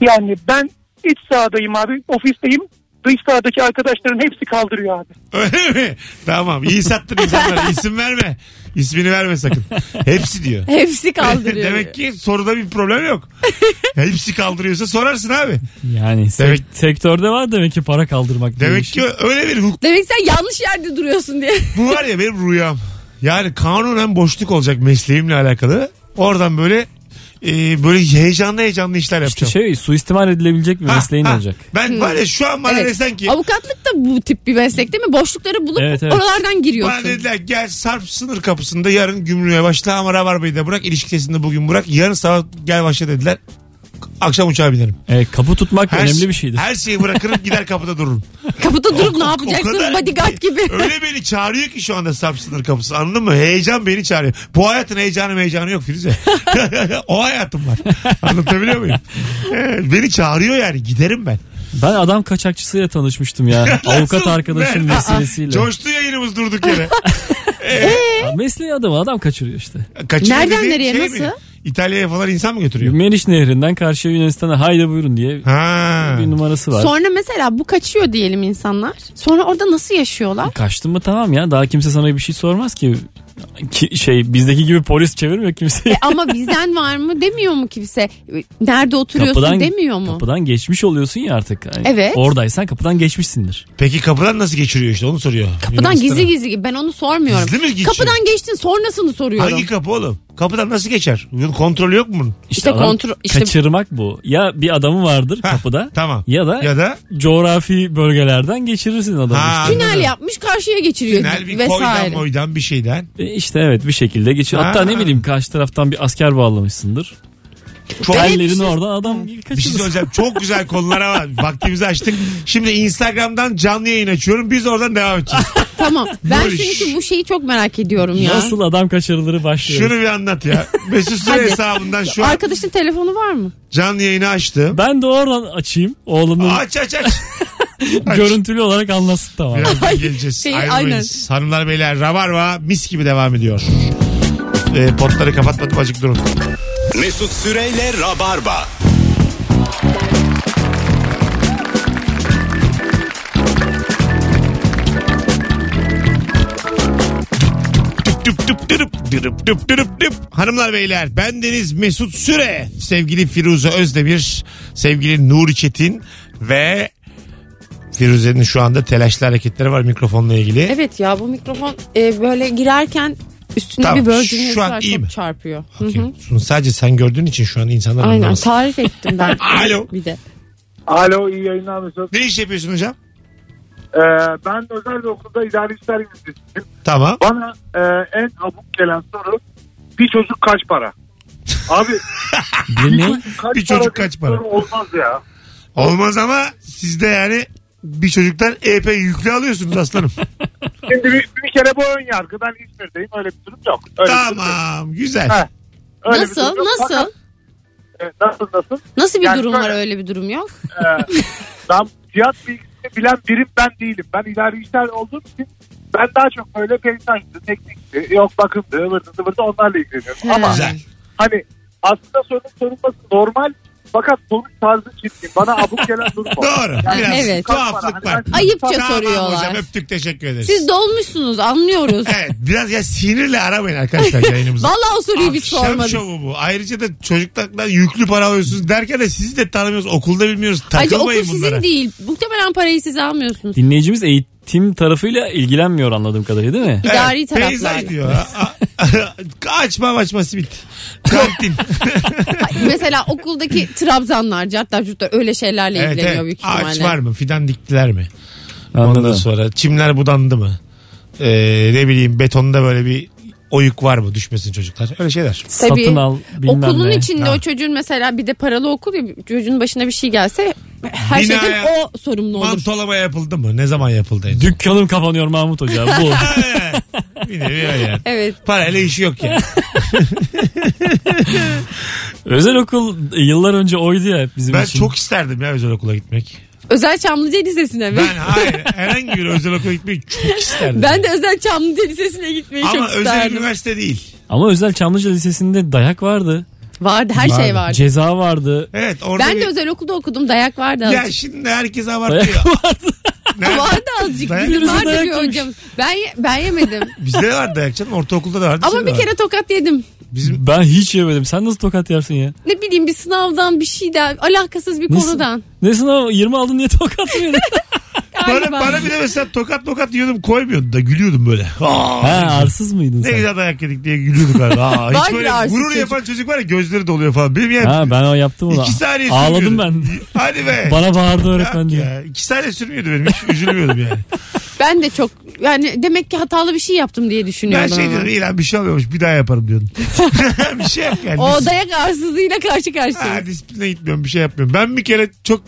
I: Yani ben iç sahadayım abi. Ofisteyim. Dış sahadaki arkadaşların hepsi kaldırıyor abi.
B: Öyle mi? Tamam. İyi sattın insanlara. İsim verme. İsmini verme sakın. Hepsi diyor. (laughs)
D: Hepsi kaldırıyor.
B: Demek ki soruda bir problem yok.
D: (laughs)
B: Hepsi kaldırıyorsa sorarsın abi.
C: Yani sek-
B: Demek-
C: sektörde var demek ki para kaldırmak. diye bir
B: Demek
C: şey.
B: ki öyle bir hukuk
D: Demek sen yanlış yerde duruyorsun diye.
B: Bu var ya benim rüyam. Yani kanunen boşluk olacak mesleğimle alakalı. Oradan böyle e, böyle heyecanlı heyecanlı işler
C: İşte
B: yapacağım.
C: şey suistimal edilebilecek bir
B: Ha,
C: mesleğin
B: ha.
C: olacak.
B: Ben var ya şu an bana
D: Evet.
B: desen ki
D: Avukatlık da bu tip bir meslek değil mi? Boşlukları bulup
C: Evet, evet.
D: oralardan
B: bana
D: giriyorsun.
B: dediler gel Sarp sınır kapısında yarın gümrüğe başla ama Rabarba'yı da bırak ilişkisinde bugün bırak yarın sabah gel başla dediler. akşam uçağa binerim.
C: Evet, E, kapı tutmak
B: Her- şey-
C: önemli bir şeydir.
B: Her şeyi bırakırım gider kapıda dururum.
D: Kapıda durup ne
B: O- o kadar-
D: yapacaksın bodyguard gibi.
B: Öyle beni çağırıyor ki şu anda sap sınır kapısı anladın mı? Heyecan beni çağırıyor. Bu hayatın heyecanı heyecanı yok Firuze. (laughs) o hayatım var. Anlatabiliyor muyum? Ee, beni çağırıyor yani giderim ben.
C: Ben adam kaçakçısıyla tanışmıştım ya.
B: (laughs)
C: Avukat
B: Nasıl?
C: arkadaşım
B: Ben-
C: vesilesiyle.
B: Coştu yayınımız durduk yere.
D: (laughs)
C: Ya Mesleği adamı adam kaçırıyor işte.
B: Kaçırıyor
D: Nereden
B: dediğin
D: nereye,
B: şey mi?
D: nasıl?
B: İtalya'ya falan insan mı götürüyor?
C: Meriç Nehri'nden karşıya Yunanistan'a haydi buyurun diye
B: Ha.
C: bir numarası var.
D: Sonra mesela bu kaçıyor diyelim insanlar. Sonra orada nasıl yaşıyorlar?
C: E, Kaçtın mı tamam ya daha kimse sana bir şey sormaz ki. Ki- şey bizdeki gibi polis çevirmiyor kimseyi.
D: E ama bizden var mı demiyor mu kimse? Nerede oturuyorsun
C: Kapıdan-
D: demiyor mu?
C: Kapıdan geçmiş oluyorsun ya artık. Yani
D: Evet.
C: Oradaysan kapıdan geçmişsindir.
B: Peki kapıdan nasıl geçiriyor işte onu soruyor.
D: Kapıdan
B: Yunanistan'a.
D: gizli gizli gi- ben onu sormuyorum.
B: Gizli mi geçiyor?
D: Kapıdan geçtin sonrasını soruyorum.
B: Hangi kapı oğlum? Kapıdan nasıl geçer? Bunun kontrolü yok mu bunun?
D: İşte
C: adam
D: kontrol- işte-
C: Kaçırmak bu. Ya bir adamı vardır
B: Heh,
C: kapıda.
B: Tamam.
C: Ya da,
B: Ya da
C: coğrafi bölgelerden geçirirsin adamı.
B: Ha,
C: işte.
D: Tünel
B: anladım.
D: yapmış karşıya geçiriyor
B: Tünel bir koydan
D: vesaire.
B: moydan bir şeyden.
C: E, işte evet bir şekilde geçir. Hatta
B: Ha.
C: ne bileyim karşı taraftan bir asker bağlamışsındır.
B: Çok,
D: şey-
C: Ellerini oradan adam
B: bir şey
C: kaçırırsın.
B: söyleyeceğim. Çok güzel konulara var. Vaktimizi açtık. Şimdi Instagram'dan canlı yayın açıyorum. Biz oradan devam edeceğiz. (laughs)
D: Tamam. Ben
B: Barış.
D: çünkü bu şeyi çok merak ediyorum ya.
C: Nasıl adam kaçırılırı başlıyor.
B: Şunu bir anlat ya. Mesut Süre
D: Hadi.
B: hesabından şu an
D: Arkadaşın telefonu var mı?
B: canlı yayını açtım.
C: Ben de oradan açayım. Oğlunun
B: Aç aç aç. aç.
C: görüntülü olarak anlatsın tamam.
B: Birazdan geleceğiz.
D: Şey,
B: Ayrılmayız. Hanımlar beyler Rabarba mis gibi devam ediyor. E, potları kapatmadım acık durun.
A: Mesut Süreyle Rabarba.
B: Düp düp dürüp, dürüp düp dürüp düp. Hanımlar beyler ben Deniz Mesut Süre. Sevgili Firuze Özdemir, sevgili Nuri Çetin ve Firuze'nin şu anda telaşlı hareketleri var mikrofonla ilgili.
D: Evet ya bu mikrofon e, böyle girerken üstünde
B: Tamam,
D: bir bölgünün
B: şu an iyi mi?
D: çok çarpıyor. Hı
B: Okey.
D: hı.
B: Şunu sadece sen gördüğün için şu an insanlar
D: Aynen
B: anlamaz.
D: tarif ettim ben.
B: (laughs) Alo.
D: Bir de.
I: Alo iyi yayınlar Mesut.
B: Ne iş yapıyorsun hocam?
I: Ee, ben özel bir okulda idari işler mühendisiyim.
B: Tamam.
I: Bana e, en abuk gelen soru bir çocuk kaç para?
B: (laughs)
I: Abi
C: Bir ne?
I: kaç
B: Bir çocuk
I: diye
B: kaç para?
I: soru Olmaz ya.
B: Olmaz ama sizde yani bir çocuktan epey yüklü alıyorsunuz
I: (laughs)
B: aslanım.
I: Şimdi bir, bir kere bu ön yargı. Ben İzmir'deyim öyle bir durum yok. Öyle bir durum yok.
B: tamam güzel.
I: Ha. Öyle bir
D: Nasıl?
I: durum yok.
D: Nasıl?
I: (laughs) Fakat, e, nasıl nasıl?
D: Nasıl bir
I: Yani
D: durum
I: şöyle-
D: var öyle bir durum yok? (laughs)
I: Ee, ben fiyat bilgisini bilen birim ben değilim. Ben idari işler olduğum için ben daha çok böyle peyzajdı, teknikti, yok bakımdı, ıvırdı zıvırdı onlarla ilgileniyorum.
D: He.
I: Ama
B: Güzel.
I: hani aslında sorunun sorulması normal fakat sonuç tarzı çirkin. Bana abuk gelen durum
B: (laughs)
I: o.
B: Doğru. Biraz
D: Evet.
B: tuhaflık var.
D: Ayıpça
B: Tamam
D: soruyorlar.
B: hocam öptük teşekkür ederiz.
D: Siz
B: (laughs)
D: dolmuşsunuz anlıyoruz.
B: Evet biraz ya sinirle aramayın arkadaşlar yayınımızı.
D: (laughs) Vallahi o soruyu biz
B: Akşam
D: sormadık.
B: şovu bu. Ayrıca da çocuklardan yüklü para alıyorsunuz derken de sizi de tanımıyoruz. Okulda bilmiyoruz.
D: Ayrıca okul
B: Takılmayın bunlara.
D: sizin değil. Muhtemelen parayı siz almıyorsunuz.
C: Dinleyicimiz eğitim tarafıyla ilgilenmiyor anladığım kadarıyla değil mi?
B: Evet,
D: İdari
B: Peyzaj
D: taraflarla.
B: diyor. A- a- (laughs) Açma açma simit.
D: (laughs)
B: Kantin.
D: Mesela okuldaki trabzanlar, cartlar, curtlar öyle şeylerle
B: evet,
D: ilgileniyor
B: evet.
D: büyük ihtimalle.
B: Ağaç var mı? Fidan diktiler mi? Ondan
C: Anladım.
B: sonra çimler budandı mı? Ee, ne bileyim betonda böyle bir oyuk var mı? Düşmesin çocuklar. Öyle şeyler.
D: Tabii.
C: Satın al bilmem
D: Okulun
C: ne.
D: içinde
B: Ha.
D: o çocuğun mesela bir de paralı okul ya çocuğun başına bir şey gelse her
B: Binaya-
D: şeyden o sorumlu olur.
B: Mantolama yapıldı mı? Ne zaman yapıldı?
D: (laughs)
B: en son?
C: Dükkanım kapanıyor Mahmut Hoca
B: (laughs)
C: bu.
B: Evet. bir nevi öyle yani.
D: Evet.
B: Parayla işi yok yani.
C: Özel okul yıllar önce oydu ya hep bizim
B: Ben
C: için.
B: çok isterdim ya özel okula gitmek.
D: Özel Çamlıca Lisesi'ne mi? (laughs)
B: Ben hayır herhangi bir özel okula gitmeyi çok isterdim.
D: Ben de Özel Çamlıca Lisesi'ne gitmeyi
B: Ama
D: çok
B: özel
D: isterdim.
B: üniversite değil.
C: Ama özel Çamlıca Lisesi'nde dayak vardı.
D: Vardı her şey vardı.
C: Ceza vardı.
B: Evet orada
D: Ben de
B: bir-
D: özel okulda okudum. Dayak vardı
B: Ya
D: azıcık.
B: şimdi
D: (laughs)
B: herkes abartıyor.
C: Dayak vardı.
B: Nerede?
D: Vardı azıcık.
B: Dayak- şey
D: Bizim
C: Birisi
D: vardı
C: dayak
D: bir
C: yemiş.
D: hocam. Ben, ye- ben
B: (laughs)
D: yemedim.
B: Bizde de vardı dayak canım. Ortaokulda da vardı.
D: Ama
B: lisede
D: bir
B: de
D: kere
B: vardı.
D: tokat yedim.
B: Bizim
C: Ben hiç yemedim. Sen nasıl tokat yersin ya?
D: Ne bileyim bir sınavdan bir şeyden alakasız bir
C: Nasıl?
D: konudan.
C: Ne sınav 20 aldın niye tokat mı yedin?
B: (laughs) bana,
D: Galiba.
B: bana bile mesela tokat tokat yiyordum koymuyordu da gülüyordum böyle. Aa,
C: ha arsız mıydın
B: ne
C: sen?
B: güzel dayak yedik diye gülüyorduk abi. Aa, hiç
D: Vardır
B: böyle
D: arsız
B: gurur
D: çocuk.
B: yapan çocuk var ya gözleri doluyor falan. Benim yani
C: Ha ben o yaptım onu.
B: iki saniye
C: Ağladım
B: sürmüyordu. (laughs)
C: ben. (laughs)
B: Hadi be.
C: Bana bağırdı öğretmen
B: Yok
C: diye.
B: ya, İki saniye sürmüyordu benim. Hiç üzülmüyordum yani.
D: Ben de çok yani demek ki hatalı bir şey yaptım diye
B: Ben
D: düşünüyorum.
B: şey diyorum iyi lan bir şey olmuyormuş bir daha yaparım diyordum. (laughs) bir şey yap yani.
D: O odaya arsızlığıyla karşı karşıyayız.
B: Ha, disipline gitmiyorum bir şey yapmıyorum. Ben bir kere çok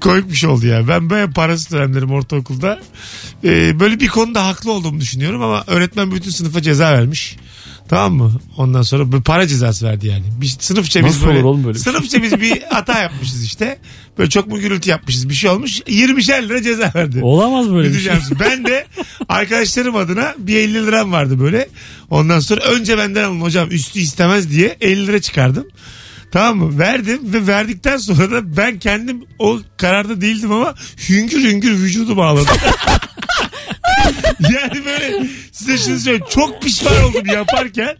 B: komik bir şey oldu ya. Ben böyle parasız öğrencilerim ortaokulda. Ee, böyle bir konuda haklı olduğumu düşünüyorum ama öğretmen bütün sınıfa ceza vermiş. Tamam mı? Ondan sonra böyle para cezası verdi yani. Bir sınıfça biz
C: Nasıl
B: böyle,
C: olur oğlum böyle bir şey?
B: sınıfça biz bir hata yapmışız işte. Böyle çok mu gürültü yapmışız bir şey olmuş. 20'şer lira ceza verdi.
C: Olamaz böyle bir şey.
B: Gideceğim. Ben de arkadaşlarım adına bir 50 liram vardı böyle. Ondan sonra önce benden alın hocam üstü istemez diye 50 lira çıkardım. Tamam mı? Verdim ve verdikten sonra da ben kendim o kararda değildim ama hüngür hüngür vücudu bağladım. (laughs) yani böyle size şunu söyleyeyim. Çok pişman oldum yaparken.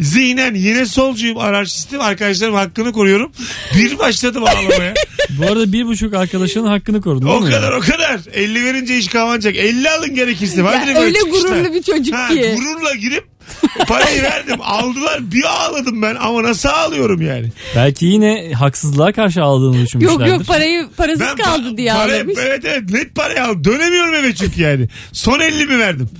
B: Zihnen yine solcuyum anarşistim. Arkadaşlarım hakkını koruyorum. Bir başladım ağlamaya.
C: Bu arada bir buçuk arkadaşının hakkını korudun
B: O
C: değil mi?
B: kadar o kadar. 50 verince iş kalmayacak. 50 alın gerekirse. Vardır
D: Ya
B: böyle
D: öyle
B: çıkışlar.
D: gururlu bir çocuk
B: Ha,
D: ki.
B: Gururla girip
D: (laughs)
B: parayı verdim. Aldılar. Bir ağladım ben ama nasıl ağlıyorum yani.
C: Belki yine haksızlığa karşı aldığını düşünmüşlerdir.
D: Yok yok parayı parasız
B: Ben
D: kaldı
B: pa-
D: diye
B: para-
D: ağlamış.
B: Evet evet net parayı aldım. Dönemiyorum eve çünkü yani. Son 50 mi verdim?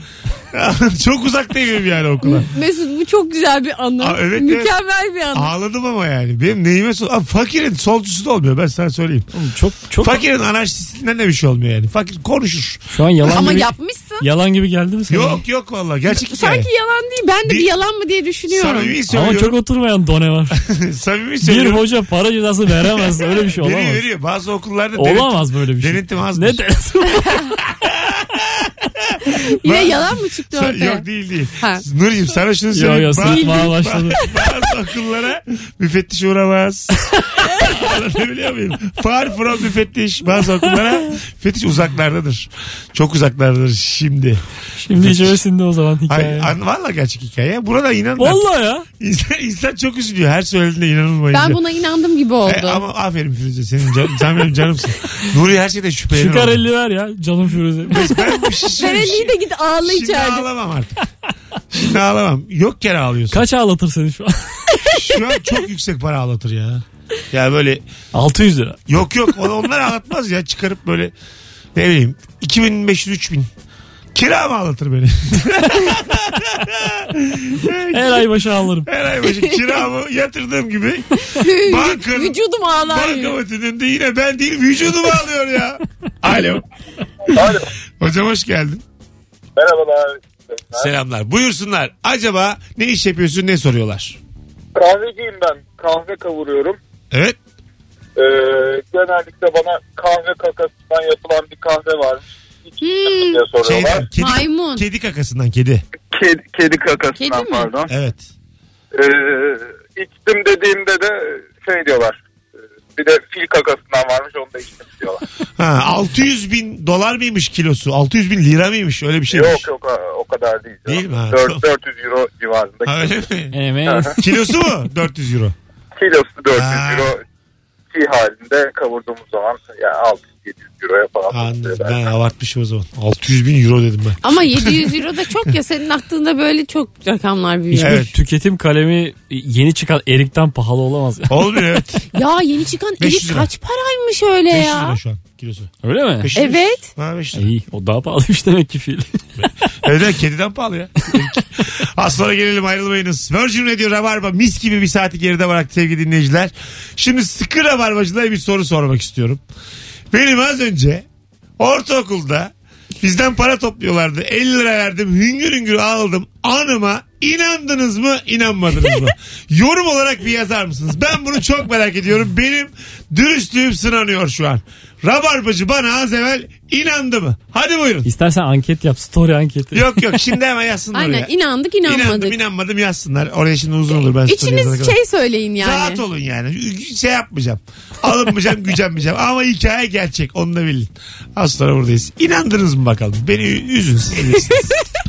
B: (laughs) Çok uzaktayım evim yani okula.
D: Mesut bu çok güzel bir anı.
B: Aa, evet, evet.
D: Mükemmel bir anı.
B: Ağladım ama yani. Benim neyime sol... Aa, fakirin solcusu da olmuyor ben sana söyleyeyim.
C: Oğlum Çok çok
B: Fakirin anarşistinden de bir şey olmuyor yani. Fakir konuşur.
C: şu an yalan
D: Ama
C: gibi
D: yapmışsın.
C: yalan gibi geldi mi sana?
B: Yok yok vallahi gerçek hikaye.
D: Sanki yalan değil. Ben de bir,
B: Bir-
D: yalan mı diye düşünüyorum.
B: Samimi
C: Ama
B: söylüyorum. (laughs)
C: çok oturmayan done var.
B: Samimi
C: bir
B: söylüyorum.
C: hoca para cezası veremez. Öyle bir şey
B: Veriyor,
C: olamaz.
B: veriyor. Bazı okullarda denet-
C: Olamaz böyle bir şey.
B: denetim azdır.
C: Ne dersin?
D: Yine
B: Ben-
D: yalan mı çıktı
B: Sa-
D: ortaya?
B: Yok değil değil.
D: Ha.
B: Nurcuğum sana şunu
C: Yo
B: söyleyeyim.
C: yo
B: Ba-
C: sırıtmaya başladı.
B: bazı okullara müfettiş uğramaz. Anlatabiliyor muyum? Far from müfettiş. Bazı okullara müfettiş uzaklardadır. Çok uzaklardadır şimdi.
C: Şimdi içerisinde o zaman
B: Ay,
C: hikaye.
B: an, valla gerçek hikaye. Burada inan.
C: Vallahi ya.
B: İnsan, insan çok üzülüyor. Her söylediğinde inanılmayınca.
D: Ben buna inandım gibi oldu.
B: E, ama aferin Firuze senin can, sen benim canımsın. Nuri her şeyden şüphelenir.
C: Çıkar
B: oldu.
C: elli ver ya canım Firuze.
B: Ben bir şey söyleyeyim.
D: Ferelli'yi de git ağla
B: Şimdi
D: (laughs) içeride.
B: ağlamam artık. Şimdi ağlamam. Yok kere ağlıyorsun.
C: Kaç ağlatır seni şu an? (laughs)
B: Şu an çok yüksek para ağlatır ya. Ya böyle
C: 600 lira.
B: yok yok on- onlar ağlatmaz ya çıkarıp böyle ne bileyim 2500 3000 kira mı ağlatır beni?
C: Her ay başı ağlarım.
B: Her ay başı kiramı yatırdığım gibi bankanın
D: Vücudum ağlar.
B: bankamatın önünde yine ben değil vücudumu ağlıyor ya. Alo.
E: Alo.
B: Hocam hoş geldin.
E: Merhabalar.
B: Selamlar. Buyursunlar. Acaba ne iş yapıyorsun ne soruyorlar?
E: Kahveciyim ben. Kahve kavuruyorum.
B: Evet.
E: Ee, genellikle bana kahve kakasından yapılan bir kahve varmış.
D: Hmm.
E: diye soruyorlar.
B: Şeyden, Şey kedi,
D: Maymun.
B: kedi kakasından kedi.
E: Kedi, kedi kakasından
D: Kedi mi?
E: pardon.
B: Evet.
E: Ee, içtim dediğimde de şey diyorlar. e, Bir de fil kakasından varmış onu da içtim diyorlar.
B: Ha, 600 bin dolar mıymış kilosu? 600 bin lira mıymış? Öyle bir şeymiş.
E: yok yok ha, o kadar değil. canım.
B: Değil mi? Ha,
E: Dört-
B: tamam.
E: 400 euro civarında.
B: Ha, öyle mi?
C: Evet.
B: Kilosu mu? 400 euro.
E: Kilosu 400
B: Ha.
E: euro ki halinde kavurduğumuz zaman yani 600-700 euroya falan.
B: Anladım. Ben abartmışım o zaman. 600 bin euro dedim ben.
D: Ama 700 euro da çok ya senin aklında böyle çok rakamlar büyüyor.
B: Evet.
C: Tüketim kalemi yeni çıkan erikten pahalı olamaz. ya.
B: Olmuyor evet.
D: Ya yeni çıkan
B: 500
D: erik
B: lira.
D: kaç paraymış öyle
B: 500 lira
D: ya?
B: şu an kilosu.
C: Öyle mi?
B: 500 lira.
D: Evet.
B: Ha 500 lira.
C: İyi o daha pahalıymış demek ki fil.
B: Evet, evet, kediden pahalı ya. Az sonra gelelim ayrılmayınız. Virgin Radio Rabarba mis gibi bir saati geride bıraktı sevgili dinleyiciler. Şimdi sıkı Rabarbacılara bir soru sormak istiyorum. Benim az önce ortaokulda bizden para topluyorlardı. 50 lira verdim hüngür hüngür aldım anıma inandınız mı inanmadınız mı? Yorum olarak bir yazar mısınız? Ben bunu çok merak ediyorum. Benim dürüstlüğüm sınanıyor şu an. Rabarbacı bana az evvel inandı mı? Hadi buyurun.
C: İstersen anket yap story anketi.
B: Yok yok şimdi hemen yazsınlar
D: Aynen
B: oraya.
D: inandık
B: İnanmadım
D: inanmadık.
B: inanmadım yazsınlar. Oraya şimdi uzun olur ben story yazana
D: İçiniz
B: kadar.
D: şey söyleyin
B: Rahat
D: yani.
B: olun yani. Şey yapmayacağım. Alınmayacağım, (laughs) gücenmeyeceğim. Ama hikaye gerçek. Onu da bilin. Az sonra buradayız. İnandınız mı bakalım? Beni üzün. Siz bilirsiniz.